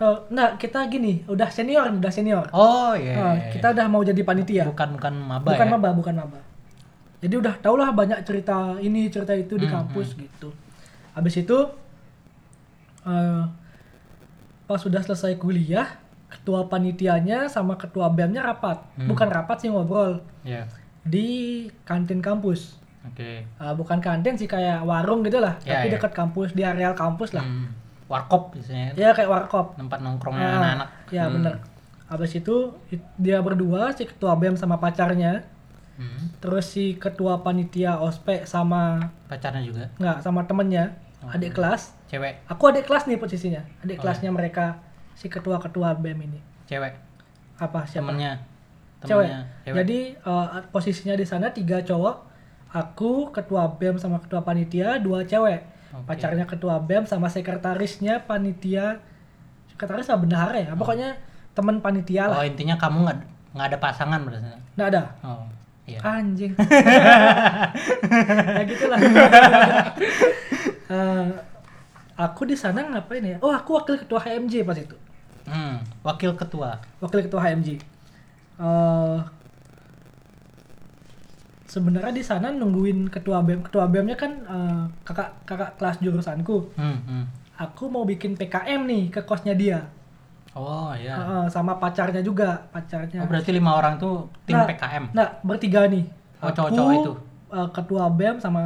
[SPEAKER 3] Eh, nah, kita gini, udah senior, nih, udah senior.
[SPEAKER 1] Oh iya.
[SPEAKER 3] Nah, kita udah mau jadi panitia.
[SPEAKER 1] bukan bukan maba
[SPEAKER 3] bukan
[SPEAKER 1] ya.
[SPEAKER 3] maba bukan maba jadi udah tau lah banyak cerita ini cerita itu di
[SPEAKER 1] Hmm,
[SPEAKER 3] kampus gitu habis itu eh, pas sudah selesai kuliah ketua panitianya sama ketua BEM-nya rapat
[SPEAKER 1] Hmm.
[SPEAKER 3] bukan rapat sih ngobrol
[SPEAKER 1] Iya.
[SPEAKER 3] di kantin kampus
[SPEAKER 1] Oke.
[SPEAKER 3] Eh, bukan kantin sih kayak warung gitu lah
[SPEAKER 1] Ya,
[SPEAKER 3] tapi
[SPEAKER 1] ya.
[SPEAKER 3] dekat kampus di areal kampus lah
[SPEAKER 1] Hmm. Warkop biasanya
[SPEAKER 3] ya kayak warkop
[SPEAKER 1] tempat nongkrongnya
[SPEAKER 3] Ah,
[SPEAKER 1] Hmm. anak-anak. Hmm.
[SPEAKER 3] ya bener habis itu it- dia berdua si ketua BEM sama pacarnya
[SPEAKER 1] Hmm.
[SPEAKER 3] terus si ketua panitia ospek sama
[SPEAKER 1] Pacarnya juga
[SPEAKER 3] nggak sama temennya
[SPEAKER 1] Oh, iya.
[SPEAKER 3] adik kelas
[SPEAKER 1] cewek,
[SPEAKER 3] aku adik kelas nih posisinya
[SPEAKER 1] Oh,
[SPEAKER 3] adik kelasnya
[SPEAKER 1] iya.
[SPEAKER 3] mereka si ketua ketua bem ini
[SPEAKER 1] cewek
[SPEAKER 3] apa siapa
[SPEAKER 1] temennya.
[SPEAKER 3] cewek.
[SPEAKER 1] Temennya
[SPEAKER 3] jadi eh, posisinya di sana tiga cowok aku ketua bem sama ketua panitia dua cewek
[SPEAKER 1] Oke.
[SPEAKER 3] pacarnya ketua bem sama sekretarisnya panitia sekretaris sama bendahara ya pokoknya temen panitia lah
[SPEAKER 1] Oh, intinya kamu nggak nggak ada pasangan berarti.
[SPEAKER 3] nggak ada
[SPEAKER 1] Oh. Iya.
[SPEAKER 3] Ah. anjing ya gitulah Eh, aku di sana ngapain ya oh aku wakil ketua HMJ pas itu
[SPEAKER 1] Hmm, wakil ketua.
[SPEAKER 3] wakil ketua HMJ Eh, sebenarnya di sana nungguin ketua bem ketua bemnya kan eh, kakak kakak kelas jurusanku
[SPEAKER 1] Hmm, hmm.
[SPEAKER 3] aku mau bikin PKM nih ke kosnya dia
[SPEAKER 1] Oh, iya.
[SPEAKER 3] Eh, eh, sama pacarnya juga pacarnya
[SPEAKER 1] Oh, berarti lima orang tuh tim
[SPEAKER 3] iya. Nah,
[SPEAKER 1] PKM.
[SPEAKER 3] Nah, bertiga nih.
[SPEAKER 1] Oh, cowok-cowok itu.
[SPEAKER 3] eh, ketua BEM sama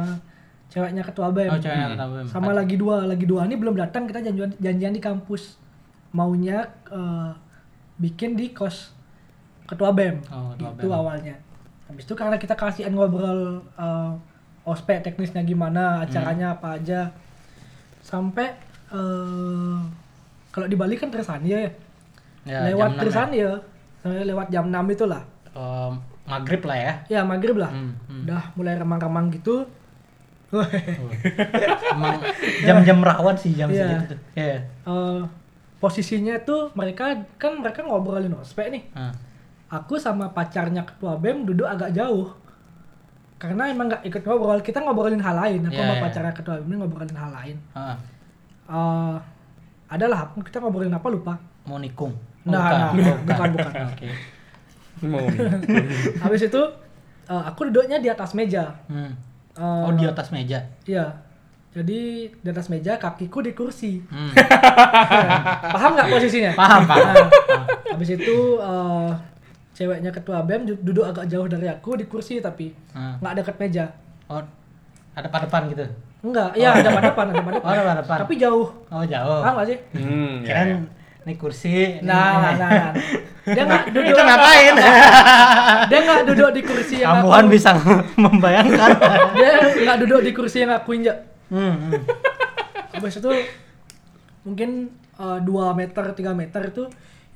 [SPEAKER 3] ceweknya ketua BEM.
[SPEAKER 1] Oh, ceweknya ketua BEM.
[SPEAKER 3] iya. Hmm. Sama lagi dua, lagi dua ini belum datang, kita janjian janjian di kampus. Maunya eh, bikin di kos ketua BEM.
[SPEAKER 1] Oh, ketua
[SPEAKER 3] Gitu
[SPEAKER 1] BEM.
[SPEAKER 3] awalnya. Habis itu karena kita kasihan ngobrol eh, ospek teknisnya
[SPEAKER 1] Hmm.
[SPEAKER 3] gimana, acaranya apa aja. Sampai eh, kalau di Bali kan Trisania ya.
[SPEAKER 1] Ya,
[SPEAKER 3] lewat
[SPEAKER 1] jam enam ya.
[SPEAKER 3] Trisania, eh, lewat jam 6 itulah.
[SPEAKER 1] Eh, maghrib lah ya.
[SPEAKER 3] Ya maghrib lah.
[SPEAKER 1] Hmm, hmm.
[SPEAKER 3] Udah mulai remang-remang gitu.
[SPEAKER 1] Emang Oh. jam-jam rawan sih jam
[SPEAKER 3] Iya.
[SPEAKER 1] segitu tuh. Iya.
[SPEAKER 3] Eh, posisinya tuh mereka kan mereka ngobrolin ospek nih.
[SPEAKER 1] Ah.
[SPEAKER 3] Aku sama pacarnya ketua BEM duduk agak jauh. Karena emang nggak ikut ngobrol, kita ngobrolin hal lain. Aku
[SPEAKER 1] Iya,
[SPEAKER 3] sama
[SPEAKER 1] iya.
[SPEAKER 3] pacarnya ketua BEM ini ngobrolin hal lain.
[SPEAKER 1] Ah.
[SPEAKER 3] Eh adalah apa- kita ngobrolin apa lupa.
[SPEAKER 1] mau nikung. Oh,
[SPEAKER 3] Nah, nah,
[SPEAKER 1] bukan.
[SPEAKER 3] nah, bukan bukan.
[SPEAKER 1] Oke.
[SPEAKER 2] Mau.
[SPEAKER 3] Habis itu eh, aku duduknya di atas meja.
[SPEAKER 1] Hmm.
[SPEAKER 3] Eh,
[SPEAKER 1] Oh, di atas meja.
[SPEAKER 3] Iya. Jadi di atas meja kakiku di kursi.
[SPEAKER 1] Hmm.
[SPEAKER 3] Paham nggak posisinya?
[SPEAKER 1] Paham, paham.
[SPEAKER 3] Nah, habis itu eh, ceweknya ketua BEM du- duduk agak jauh dari aku di kursi tapi
[SPEAKER 1] Ah.
[SPEAKER 3] nggak dekat meja.
[SPEAKER 1] Oh, hadapan-hadapan gitu.
[SPEAKER 3] Enggak, ya ada pada depan, ada pada depan.
[SPEAKER 1] Oh, hadapan-hadapan.
[SPEAKER 3] Tapi jauh.
[SPEAKER 1] Oh, jauh.
[SPEAKER 3] Paham nggak sih?
[SPEAKER 2] Hmm, ya,
[SPEAKER 1] Kirain
[SPEAKER 2] ya.
[SPEAKER 1] ini kursi. ini-
[SPEAKER 3] Nah, nah, nah. Dia nggak duduk,
[SPEAKER 1] Itu ngapain?
[SPEAKER 3] dia nggak duduk di kursi yang aku.
[SPEAKER 1] Kambuhan bisa membayangkan.
[SPEAKER 3] Dia nggak duduk di kursi yang aku injak.
[SPEAKER 1] Hmm, hmm.
[SPEAKER 3] Habis itu mungkin eh, 2 meter, 3 meter itu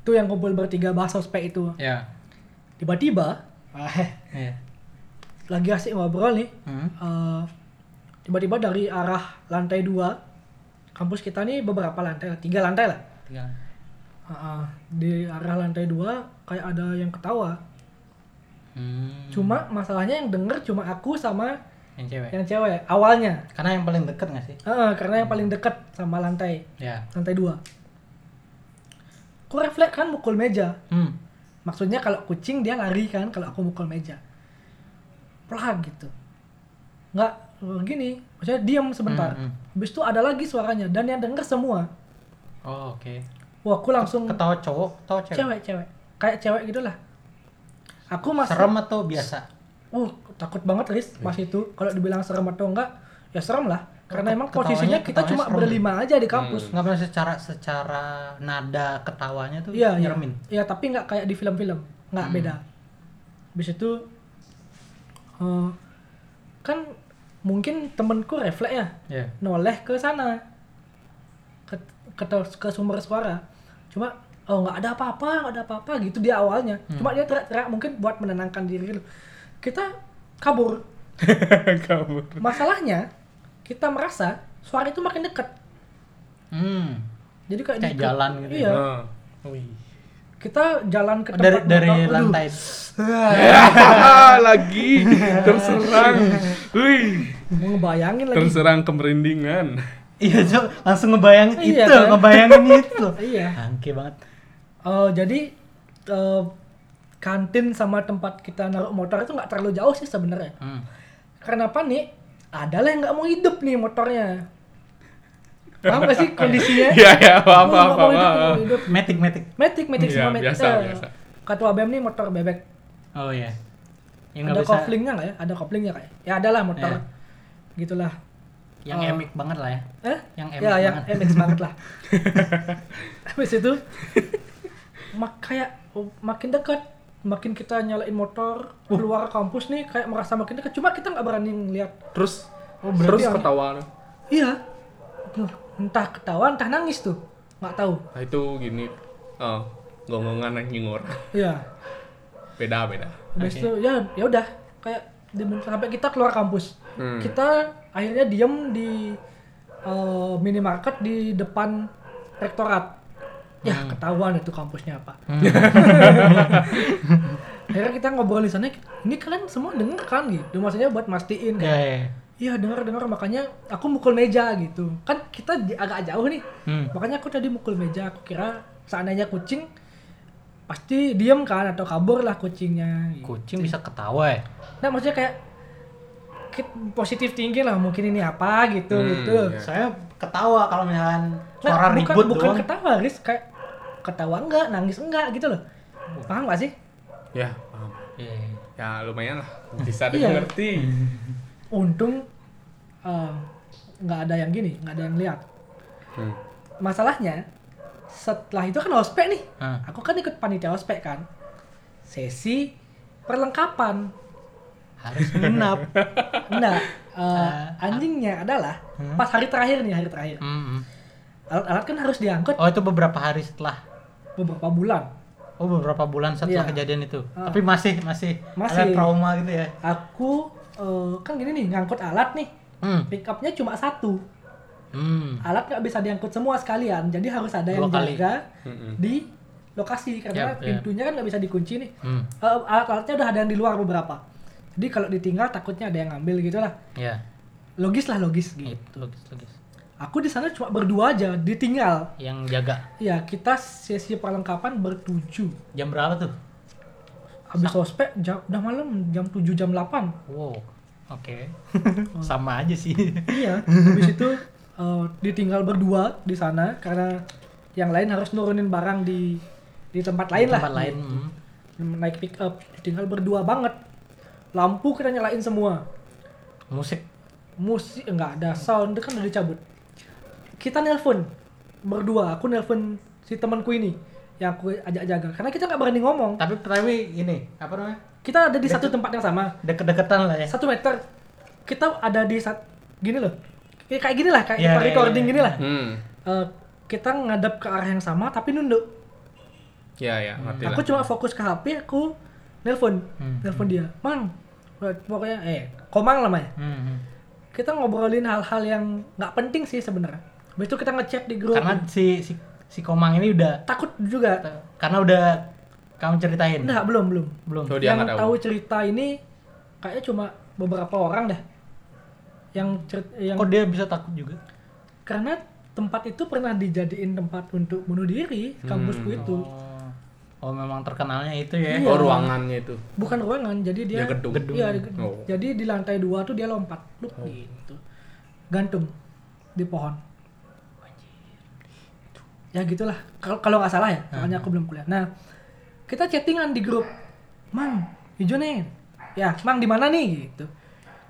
[SPEAKER 3] itu yang kumpul bertiga bahas ospek itu.
[SPEAKER 1] Ya.
[SPEAKER 3] Tiba-tiba
[SPEAKER 1] Iya.
[SPEAKER 3] lagi asik ngobrol nih,
[SPEAKER 1] Hmm.
[SPEAKER 3] Eh, tiba-tiba dari arah lantai dua kampus kita nih beberapa lantai tiga lantai lah
[SPEAKER 1] Tinggal.
[SPEAKER 3] Ah, ah. di arah lantai dua kayak ada yang ketawa
[SPEAKER 1] Hmm.
[SPEAKER 3] cuma masalahnya yang denger cuma aku sama
[SPEAKER 1] Yang cewek.
[SPEAKER 3] yang cewek awalnya
[SPEAKER 1] Karena yang paling deket nggak sih?
[SPEAKER 3] Ah, ah, karena yang paling deket sama lantai
[SPEAKER 1] Ya.
[SPEAKER 3] lantai dua aku refleks kan mukul meja
[SPEAKER 1] Hmm.
[SPEAKER 3] maksudnya kalau kucing dia lari kan kalau aku mukul meja pelan gitu nggak eh, gini maksudnya diam sebentar
[SPEAKER 1] Hmm,
[SPEAKER 3] habis itu ada lagi suaranya dan yang denger semua
[SPEAKER 1] Oh, oke.
[SPEAKER 3] wah aku langsung
[SPEAKER 1] Ketawa cowok, ketawa cewek.
[SPEAKER 3] cewek cewek kayak cewek gitulah aku masih
[SPEAKER 1] Serem Iya. atau biasa?
[SPEAKER 3] uh takut banget Riz pas itu kalau dibilang serem atau enggak ya serem lah karena
[SPEAKER 1] Ket-
[SPEAKER 3] emang
[SPEAKER 1] ketawanya-
[SPEAKER 3] posisinya kita
[SPEAKER 1] ketawanya
[SPEAKER 3] cuma
[SPEAKER 1] serem. ya? Hmm.
[SPEAKER 3] berlima aja di kampus
[SPEAKER 1] Nggak pernah secara secara nada ketawanya tuh
[SPEAKER 3] Iya, iya.
[SPEAKER 1] nyeremin.
[SPEAKER 3] Iya, tapi nggak kayak di film-film, nggak
[SPEAKER 1] Hmm.
[SPEAKER 3] beda. Habis itu eh, kan mungkin temenku refleks ya,
[SPEAKER 1] Iya.
[SPEAKER 3] noleh ke sana ke ke, ke sumber suara. Cuma oh nggak ada apa-apa, nggak ada apa-apa gitu dia awalnya.
[SPEAKER 1] Hmm.
[SPEAKER 3] Cuma dia teriak-teriak mungkin buat menenangkan diri dulu. Kita kabur.
[SPEAKER 2] ya. Kabur.
[SPEAKER 3] Masalahnya kita merasa suara itu makin dekat.
[SPEAKER 1] Hmm.
[SPEAKER 3] Jadi kayak,
[SPEAKER 1] Kayak
[SPEAKER 3] deket.
[SPEAKER 1] jalan gitu
[SPEAKER 3] Iya,
[SPEAKER 2] Nah.
[SPEAKER 3] kita jalan ke tempat
[SPEAKER 1] Oh, Dari dari
[SPEAKER 3] motor. Aduh,
[SPEAKER 1] lantai.
[SPEAKER 2] Ah, lagi terserang. Wih,
[SPEAKER 3] Mau ngebayangin lagi.
[SPEAKER 2] terserang kemerindingan.
[SPEAKER 1] Iya, Cok. langsung ngebayangin
[SPEAKER 3] Iya,
[SPEAKER 1] itu,
[SPEAKER 3] kan?
[SPEAKER 1] ngebayangin itu.
[SPEAKER 3] Iya.
[SPEAKER 1] Angke banget.
[SPEAKER 3] Eh, jadi eh, kantin sama tempat kita naruh motor itu nggak terlalu jauh sih sebenarnya.
[SPEAKER 1] Hmm.
[SPEAKER 3] Karena apa nih? Ada lah yang nggak mau hidup nih motornya. Paham gak sih kondisinya?
[SPEAKER 2] Iya, iya, paham,
[SPEAKER 3] Mau-
[SPEAKER 2] paham,
[SPEAKER 3] nggak mau hidup,
[SPEAKER 2] paham.
[SPEAKER 3] nggak mau hidup.
[SPEAKER 1] Metik, metik.
[SPEAKER 3] Metik, metik
[SPEAKER 2] Iya,
[SPEAKER 3] sama metik.
[SPEAKER 2] biasa,
[SPEAKER 3] Eh,
[SPEAKER 2] biasa.
[SPEAKER 3] Kata Abem nih motor bebek.
[SPEAKER 1] Oh iya. Yang
[SPEAKER 3] ada
[SPEAKER 1] nggak bisa
[SPEAKER 3] koplingnya nggak ya? Ada koplingnya kayak. Ya ada lah motor.
[SPEAKER 1] Iya.
[SPEAKER 3] Gitulah.
[SPEAKER 1] yang
[SPEAKER 3] Oh.
[SPEAKER 1] emik banget lah ya.
[SPEAKER 3] Eh?
[SPEAKER 1] Yang MX
[SPEAKER 3] ya, yang
[SPEAKER 1] banget.
[SPEAKER 3] MX banget lah. Habis itu mak kayak oh, makin dekat, makin kita nyalain motor
[SPEAKER 1] Uh.
[SPEAKER 3] keluar kampus nih kayak merasa makin dekat. Cuma kita nggak berani ngeliat.
[SPEAKER 2] Terus
[SPEAKER 3] Oh, berarti
[SPEAKER 2] terus
[SPEAKER 3] yang-
[SPEAKER 2] ketawa.
[SPEAKER 3] Iya. Entah ketawa, entah nangis tuh. Nggak tahu.
[SPEAKER 2] Nah, itu gini. Oh, gonggongan anjing orang.
[SPEAKER 3] Iya.
[SPEAKER 2] Beda, beda.
[SPEAKER 3] Habis
[SPEAKER 1] Oke.
[SPEAKER 3] itu ya ya udah kayak di- sampai kita keluar kampus.
[SPEAKER 2] Hmm.
[SPEAKER 3] Kita akhirnya diem di eh, minimarket di depan rektorat. Ya
[SPEAKER 1] Hmm.
[SPEAKER 3] ketahuan itu kampusnya apa. akhirnya kita ngobrol di sana. Ini kalian semua denger kan gitu. Maksudnya buat mastiin
[SPEAKER 1] Iya,
[SPEAKER 3] kayak,
[SPEAKER 1] iya.
[SPEAKER 3] Iya denger dengar makanya aku mukul meja gitu. Kan kita di- agak jauh nih.
[SPEAKER 1] Hmm.
[SPEAKER 3] Makanya aku tadi mukul meja. Aku kira seandainya kucing pasti diem kan atau kabur lah kucingnya. gitu.
[SPEAKER 1] Kucing bisa ketawa ya.
[SPEAKER 3] Nah maksudnya kayak kit- positif tinggi lah mungkin ini apa gitu
[SPEAKER 2] Hmm,
[SPEAKER 3] gitu.
[SPEAKER 2] iya.
[SPEAKER 1] Saya ketawa kalau misalkan
[SPEAKER 3] Nah,
[SPEAKER 1] suara
[SPEAKER 3] bukan,
[SPEAKER 1] ribut
[SPEAKER 3] bukan
[SPEAKER 1] doang.
[SPEAKER 3] ketawa Riz kayak ketawa enggak, nangis enggak gitu loh. Paham gak sih?
[SPEAKER 2] Ya, paham.
[SPEAKER 1] Iya.
[SPEAKER 2] Ya, lumayan lah. Bisa
[SPEAKER 3] Iya.
[SPEAKER 2] dimengerti.
[SPEAKER 3] Untung eh, nggak ada yang gini, nggak ada yang lihat.
[SPEAKER 2] Hmm.
[SPEAKER 3] Masalahnya setelah itu kan ospek nih.
[SPEAKER 1] Hmm.
[SPEAKER 3] Aku kan ikut panitia ospek kan. Sesi perlengkapan.
[SPEAKER 1] Harus nginap.
[SPEAKER 3] Nah, eh, anjingnya adalah
[SPEAKER 2] Hmm?
[SPEAKER 3] pas hari terakhir nih, hari terakhir.
[SPEAKER 1] Mm-mm.
[SPEAKER 3] Alat-alat kan harus diangkut
[SPEAKER 1] Oh, itu beberapa hari setelah
[SPEAKER 3] beberapa bulan.
[SPEAKER 1] Oh, beberapa bulan
[SPEAKER 3] Iya.
[SPEAKER 1] setelah kejadian itu.
[SPEAKER 3] Ah.
[SPEAKER 1] Tapi masih masih, ada
[SPEAKER 3] Masih.
[SPEAKER 1] trauma gitu ya.
[SPEAKER 3] aku eh, kan gini nih ngangkut alat nih
[SPEAKER 1] Hmm.
[SPEAKER 3] pick upnya cuma satu
[SPEAKER 1] Hmm.
[SPEAKER 3] alat nggak bisa diangkut semua sekalian jadi harus ada yang
[SPEAKER 1] Dua kali.
[SPEAKER 3] jaga
[SPEAKER 2] Mm-mm.
[SPEAKER 3] di lokasi karena
[SPEAKER 1] Yap, yap.
[SPEAKER 3] pintunya kan nggak bisa dikunci nih
[SPEAKER 1] Hmm.
[SPEAKER 3] Eh, alat-alatnya udah ada yang di luar beberapa jadi kalau ditinggal takutnya ada yang ngambil gitu lah
[SPEAKER 1] Ya,
[SPEAKER 3] logis lah logis gitu
[SPEAKER 1] itu logis logis.
[SPEAKER 3] aku di sana cuma berdua aja ditinggal
[SPEAKER 1] Yang jaga
[SPEAKER 3] ya kita sesi perlengkapan bertujuh
[SPEAKER 1] jam berapa tuh?
[SPEAKER 3] habis ospek jam udah malam jam 7 jam 8
[SPEAKER 1] Wow. Oke. Sama aja sih.
[SPEAKER 3] Iya, habis itu eh, ditinggal berdua di sana karena yang lain harus nurunin barang di di tempat lain lah.
[SPEAKER 1] Tempat lain. hmm.
[SPEAKER 3] Naik pick up, ditinggal berdua banget. Lampu kita nyalain semua.
[SPEAKER 1] Musik.
[SPEAKER 3] Musik enggak ada sound kan udah dicabut. Kita nelpon berdua, aku nelpon si temanku ini yang aku ajak jaga karena kita nggak berani ngomong.
[SPEAKER 1] Tapi tapi ini apa namanya?
[SPEAKER 3] Kita ada di satu tempat yang sama.
[SPEAKER 1] Deket-deketan lah ya.
[SPEAKER 3] Satu meter. Kita ada di sat- gini loh. Kayak kayak gini lah, kayak
[SPEAKER 1] Iya,
[SPEAKER 3] kita
[SPEAKER 1] iya,
[SPEAKER 3] recording
[SPEAKER 1] iya.
[SPEAKER 3] gini lah.
[SPEAKER 2] Hmm.
[SPEAKER 3] Eh, kita ngadap ke arah yang sama tapi nunduk.
[SPEAKER 2] Ya, ya, ngerti lah.
[SPEAKER 3] Hmm. Aku cuma fokus ke HP, aku nelpon,
[SPEAKER 1] Hmm.
[SPEAKER 3] nelpon dia, mang, pokoknya eh, komang namanya.
[SPEAKER 1] Hmm, hmm.
[SPEAKER 3] Kita ngobrolin hal-hal yang nggak penting sih sebenarnya. Habis itu kita ngechat di grup.
[SPEAKER 1] Karena si si si Komang ini udah
[SPEAKER 3] takut juga.
[SPEAKER 1] karena udah kamu ceritain.
[SPEAKER 3] Nah, belum belum.
[SPEAKER 1] Belum.
[SPEAKER 2] Oh, dia
[SPEAKER 3] yang
[SPEAKER 2] nggak
[SPEAKER 3] tahu
[SPEAKER 2] tahu.
[SPEAKER 3] cerita ini kayaknya cuma beberapa orang dah. Yang cerit- yang
[SPEAKER 1] Kok dia bisa takut juga?
[SPEAKER 3] karena tempat itu pernah dijadiin tempat untuk bunuh diri kampusku itu.
[SPEAKER 1] Oh. Oh, memang terkenalnya itu
[SPEAKER 3] Iya.
[SPEAKER 1] ya.
[SPEAKER 2] Oh, ruangannya itu.
[SPEAKER 3] bukan ruangan jadi dia
[SPEAKER 2] Ya, gedung. Gedung.
[SPEAKER 3] Iya, di gedung.
[SPEAKER 2] Oh.
[SPEAKER 3] jadi di lantai dua tuh dia lompat Pluk,
[SPEAKER 1] Oh.
[SPEAKER 3] gitu gantung di pohon ya gitulah Kal- kalau nggak salah ya
[SPEAKER 1] Hmm.
[SPEAKER 3] soalnya aku belum kuliah nah kita chattingan di grup mang hijau nih ya mang di mana nih gitu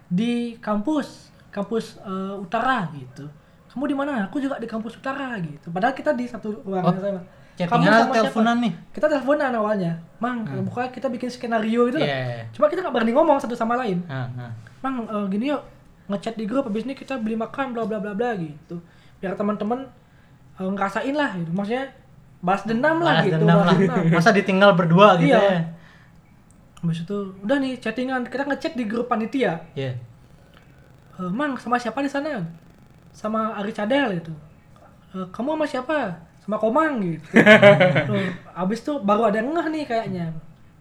[SPEAKER 3] di kampus kampus eh, utara gitu kamu di mana aku juga di kampus utara gitu padahal kita di satu ruangan
[SPEAKER 1] Oh,
[SPEAKER 3] sama Kamu
[SPEAKER 1] Chattingan
[SPEAKER 3] sama siapa?
[SPEAKER 1] teleponan nih.
[SPEAKER 3] kita teleponan awalnya mang pokoknya kita bikin skenario gitu loh
[SPEAKER 1] Hmm. Iya, iya, iya.
[SPEAKER 3] cuma kita nggak berani ngomong satu sama lain
[SPEAKER 1] Ah, ah.
[SPEAKER 3] mang eh, gini yuk ngechat di grup habis ini kita beli makan bla bla bla bla gitu biar teman-teman eh, ngerasain lah gitu maksudnya balas dendam lah
[SPEAKER 1] Balas
[SPEAKER 3] gitu
[SPEAKER 1] dendam
[SPEAKER 3] balas
[SPEAKER 1] lah.
[SPEAKER 3] dendam.
[SPEAKER 1] Masa ditinggal berdua gitu
[SPEAKER 3] Iya.
[SPEAKER 1] ya.
[SPEAKER 3] habis itu udah nih chattingan kita ngechat di grup panitia
[SPEAKER 1] Iya.
[SPEAKER 3] Eh, mang sama siapa di sana sama Ari Cadel gitu "Eh, kamu sama siapa sama Komang gitu Tuh, abis tuh baru ada yang ngeh nih kayaknya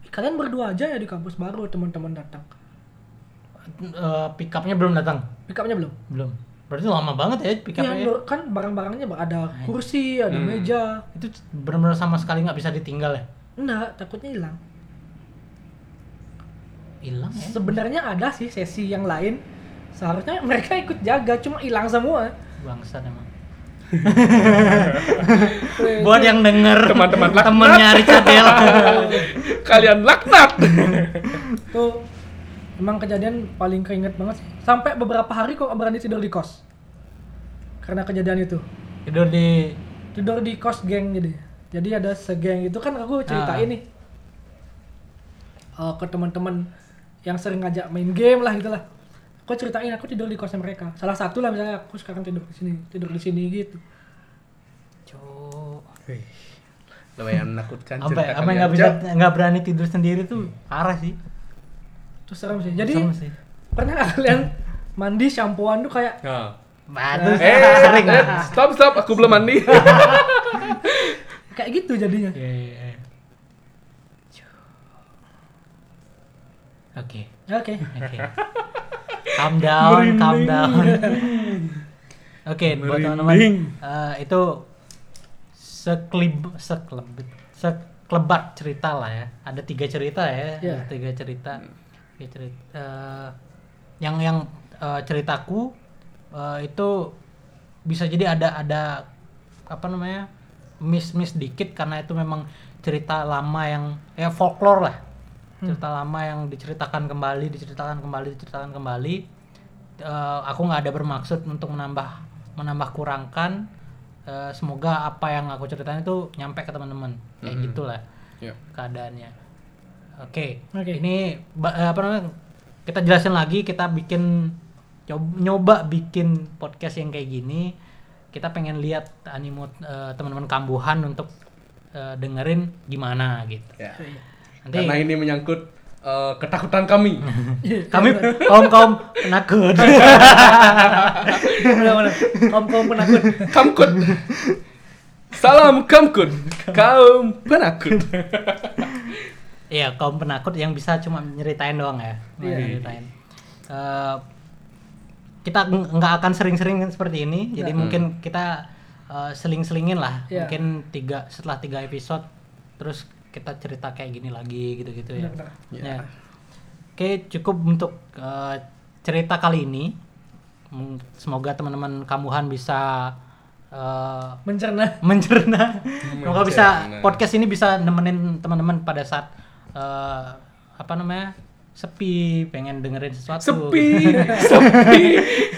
[SPEAKER 3] "Ih, kalian berdua aja ya di kampus baru teman-teman datang
[SPEAKER 1] Eh, pick upnya belum datang.
[SPEAKER 3] pick up-nya belum
[SPEAKER 1] Belum. Berarti lama banget ya pick
[SPEAKER 3] Iya,
[SPEAKER 1] up-nya.
[SPEAKER 3] lo- kan barang-barangnya ada kursi, ada
[SPEAKER 2] Hmm.
[SPEAKER 3] meja.
[SPEAKER 1] Itu benar-benar sama sekali nggak bisa ditinggal ya.
[SPEAKER 3] Enggak, takutnya hilang.
[SPEAKER 1] Hilang ya.
[SPEAKER 3] Sebenarnya ada sih sesi yang lain. Seharusnya mereka ikut jaga, cuma hilang semua.
[SPEAKER 1] Bangsat emang. Buat yang denger
[SPEAKER 2] Teman-teman laknat.
[SPEAKER 1] temennya Richard ya. Del.
[SPEAKER 2] Kalian laknat.
[SPEAKER 3] Tuh emang kejadian paling keinget banget sih. Sampai beberapa hari kok nggak berani tidur di kos. Karena kejadian itu.
[SPEAKER 1] Tidur di
[SPEAKER 3] Tidur di kos geng jadi. Jadi ada segeng itu kan aku ceritain
[SPEAKER 1] Ah.
[SPEAKER 3] nih. Eh, ke teman-teman yang sering ngajak main game lah gitu lah. Aku ceritain aku tidur di kosnya mereka. Salah satu lah misalnya aku sekarang tidur di sini, tidur di sini gitu.
[SPEAKER 1] Cuk.
[SPEAKER 2] Lumayan menakutkan
[SPEAKER 1] Apa
[SPEAKER 2] cerita
[SPEAKER 1] apa
[SPEAKER 2] kalian.
[SPEAKER 1] nggak bisa
[SPEAKER 2] Jap.
[SPEAKER 1] nggak berani tidur sendiri tuh parah sih.
[SPEAKER 3] Terus serem sih. Jadi
[SPEAKER 1] Serem sih.
[SPEAKER 3] pernah nggak kalian mandi shampooan tuh kayak
[SPEAKER 2] Nah.
[SPEAKER 1] Bagus.
[SPEAKER 2] Eh,
[SPEAKER 1] sering.
[SPEAKER 2] eh, stop stop, aku belum mandi.
[SPEAKER 3] kayak gitu jadinya.
[SPEAKER 1] Iya, iya, iya. Cuk. Oke,
[SPEAKER 3] Ya, Oke.
[SPEAKER 1] oke. Calm down, calm down. Oke, buat teman-teman eh, itu seklib seklebet sekelebat cerita lah ya. Ada tiga cerita ya,
[SPEAKER 3] Iya.
[SPEAKER 1] ada tiga cerita. Tiga cerita. eh, yang yang eh, ceritaku eh, itu bisa jadi ada ada apa namanya miss miss dikit karena itu memang cerita lama yang ya folklore lah cerita lama yang diceritakan kembali diceritakan kembali diceritakan kembali Eh, aku nggak ada bermaksud untuk menambah menambah kurangkan Eh, semoga apa yang aku ceritain itu nyampe ke teman-teman kayak gitulah
[SPEAKER 2] Ya.
[SPEAKER 1] keadaannya oke
[SPEAKER 3] Oke.
[SPEAKER 1] ini ba- eh, apa namanya kita jelasin lagi kita bikin cob- nyoba bikin podcast yang kayak gini kita pengen lihat animo eh, teman-teman kambuhan untuk eh, dengerin gimana gitu
[SPEAKER 2] Ya.
[SPEAKER 1] nanti
[SPEAKER 2] Karena ini menyangkut eh, ketakutan kami.
[SPEAKER 1] kami kaum kaum penakut
[SPEAKER 3] Benar-benar. Kaum-kaum penakut.
[SPEAKER 2] Kamkut. Salam kamkut. Kaum penakut.
[SPEAKER 1] Iya, kaum penakut yang bisa cuma nyeritain doang ya. Cuma
[SPEAKER 3] Iya.
[SPEAKER 1] nyeritain. Eh, kita ng- nggak akan sering-sering seperti ini, jadi mungkin kita eh, seling-selingin lah.
[SPEAKER 3] Iya.
[SPEAKER 1] Mungkin tiga setelah tiga episode, terus kita cerita kayak gini lagi gitu-gitu ya.
[SPEAKER 3] Benar-benar.
[SPEAKER 1] Ya. Oke, cukup untuk eh, cerita kali ini. Mm, Semoga teman-teman kamuhan bisa eh,
[SPEAKER 3] Mencerna.
[SPEAKER 1] mencerna. Semoga bisa
[SPEAKER 2] Mencerna.
[SPEAKER 1] podcast ini bisa nemenin teman-teman pada saat eh, apa namanya? sepi, pengen dengerin sesuatu. gitu.
[SPEAKER 2] Sepi, sepi.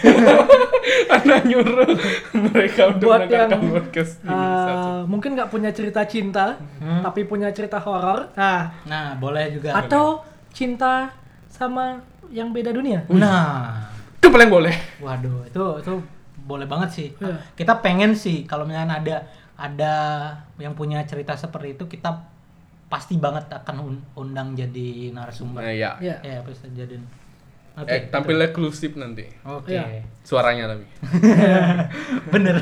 [SPEAKER 2] Anak nyuruh mereka untuk
[SPEAKER 3] buat yang
[SPEAKER 2] mendengarkan podcast ini. Satu.
[SPEAKER 3] eh, mungkin nggak punya cerita cinta tapi punya cerita horor nah
[SPEAKER 1] Nah, boleh juga.
[SPEAKER 3] atau cinta sama yang beda dunia
[SPEAKER 1] Nah,
[SPEAKER 2] Itu paling boleh.
[SPEAKER 1] waduh, itu itu boleh banget sih.
[SPEAKER 3] Iya.
[SPEAKER 1] Kita pengen sih kalau misalnya ada ada yang punya cerita seperti itu kita pasti banget akan un- undang jadi narasumber.
[SPEAKER 2] Nah, ya.
[SPEAKER 3] ya
[SPEAKER 1] Ya, pasti jadi. Oke. gitu.
[SPEAKER 2] Eh, tampil eksklusif nanti.
[SPEAKER 1] Oke.
[SPEAKER 3] Iya.
[SPEAKER 2] Suaranya tapi.
[SPEAKER 1] Bener.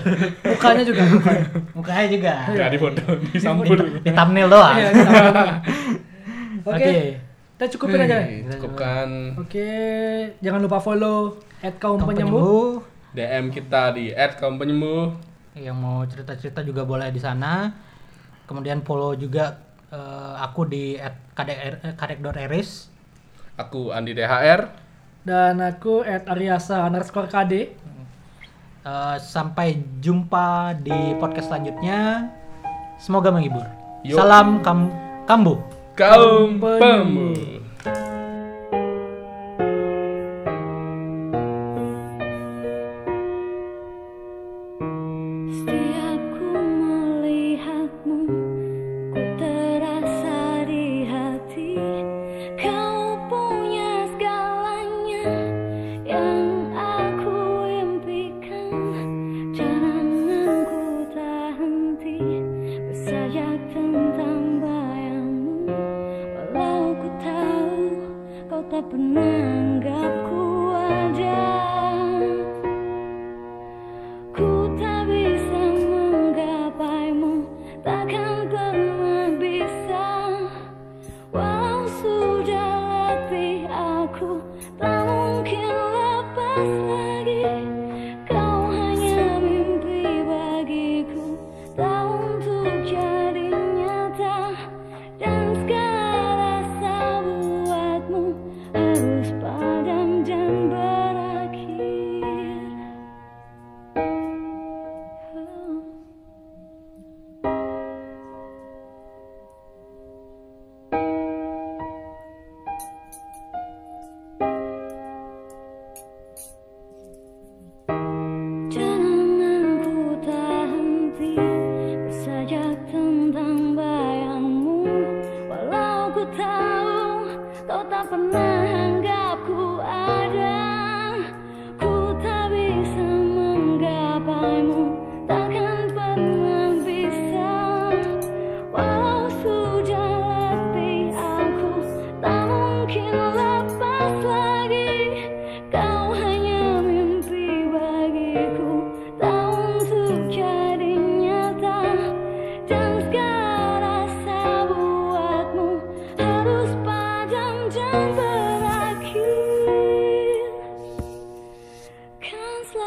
[SPEAKER 3] mukanya juga mukanya.
[SPEAKER 1] Mukanya juga.
[SPEAKER 2] Enggak di foto, di sampul dulu.
[SPEAKER 1] Iya, Di thumbnail doang.
[SPEAKER 3] Iya, kita aman.
[SPEAKER 1] Oke.
[SPEAKER 3] oke kita cukupin aja
[SPEAKER 2] Oke, Cukupkan
[SPEAKER 3] oke jangan lupa follow at kaum
[SPEAKER 1] Kaum
[SPEAKER 3] penyembuh
[SPEAKER 1] penyembuh
[SPEAKER 2] DM kita di @kaumpenyembuh.
[SPEAKER 1] yang mau cerita-cerita juga boleh di sana. Kemudian follow juga eh, aku di @kadek kadek.eris.
[SPEAKER 2] Aku Andi DHR.
[SPEAKER 3] dan aku at ariasa underscore kd
[SPEAKER 1] Eh, sampai jumpa di podcast selanjutnya. Semoga menghibur.
[SPEAKER 2] Yo.
[SPEAKER 1] Salam kam kambuh.
[SPEAKER 2] Kaum
[SPEAKER 3] Penyembuh.
[SPEAKER 2] Penyembuh.
[SPEAKER 4] Setiap ku melihatmu, ku terasa di hati Kau punya segalanya yang aku impikan Janganku tak henti bersajak tentang bayangmu Walau ku tahu kau tak pernah Kan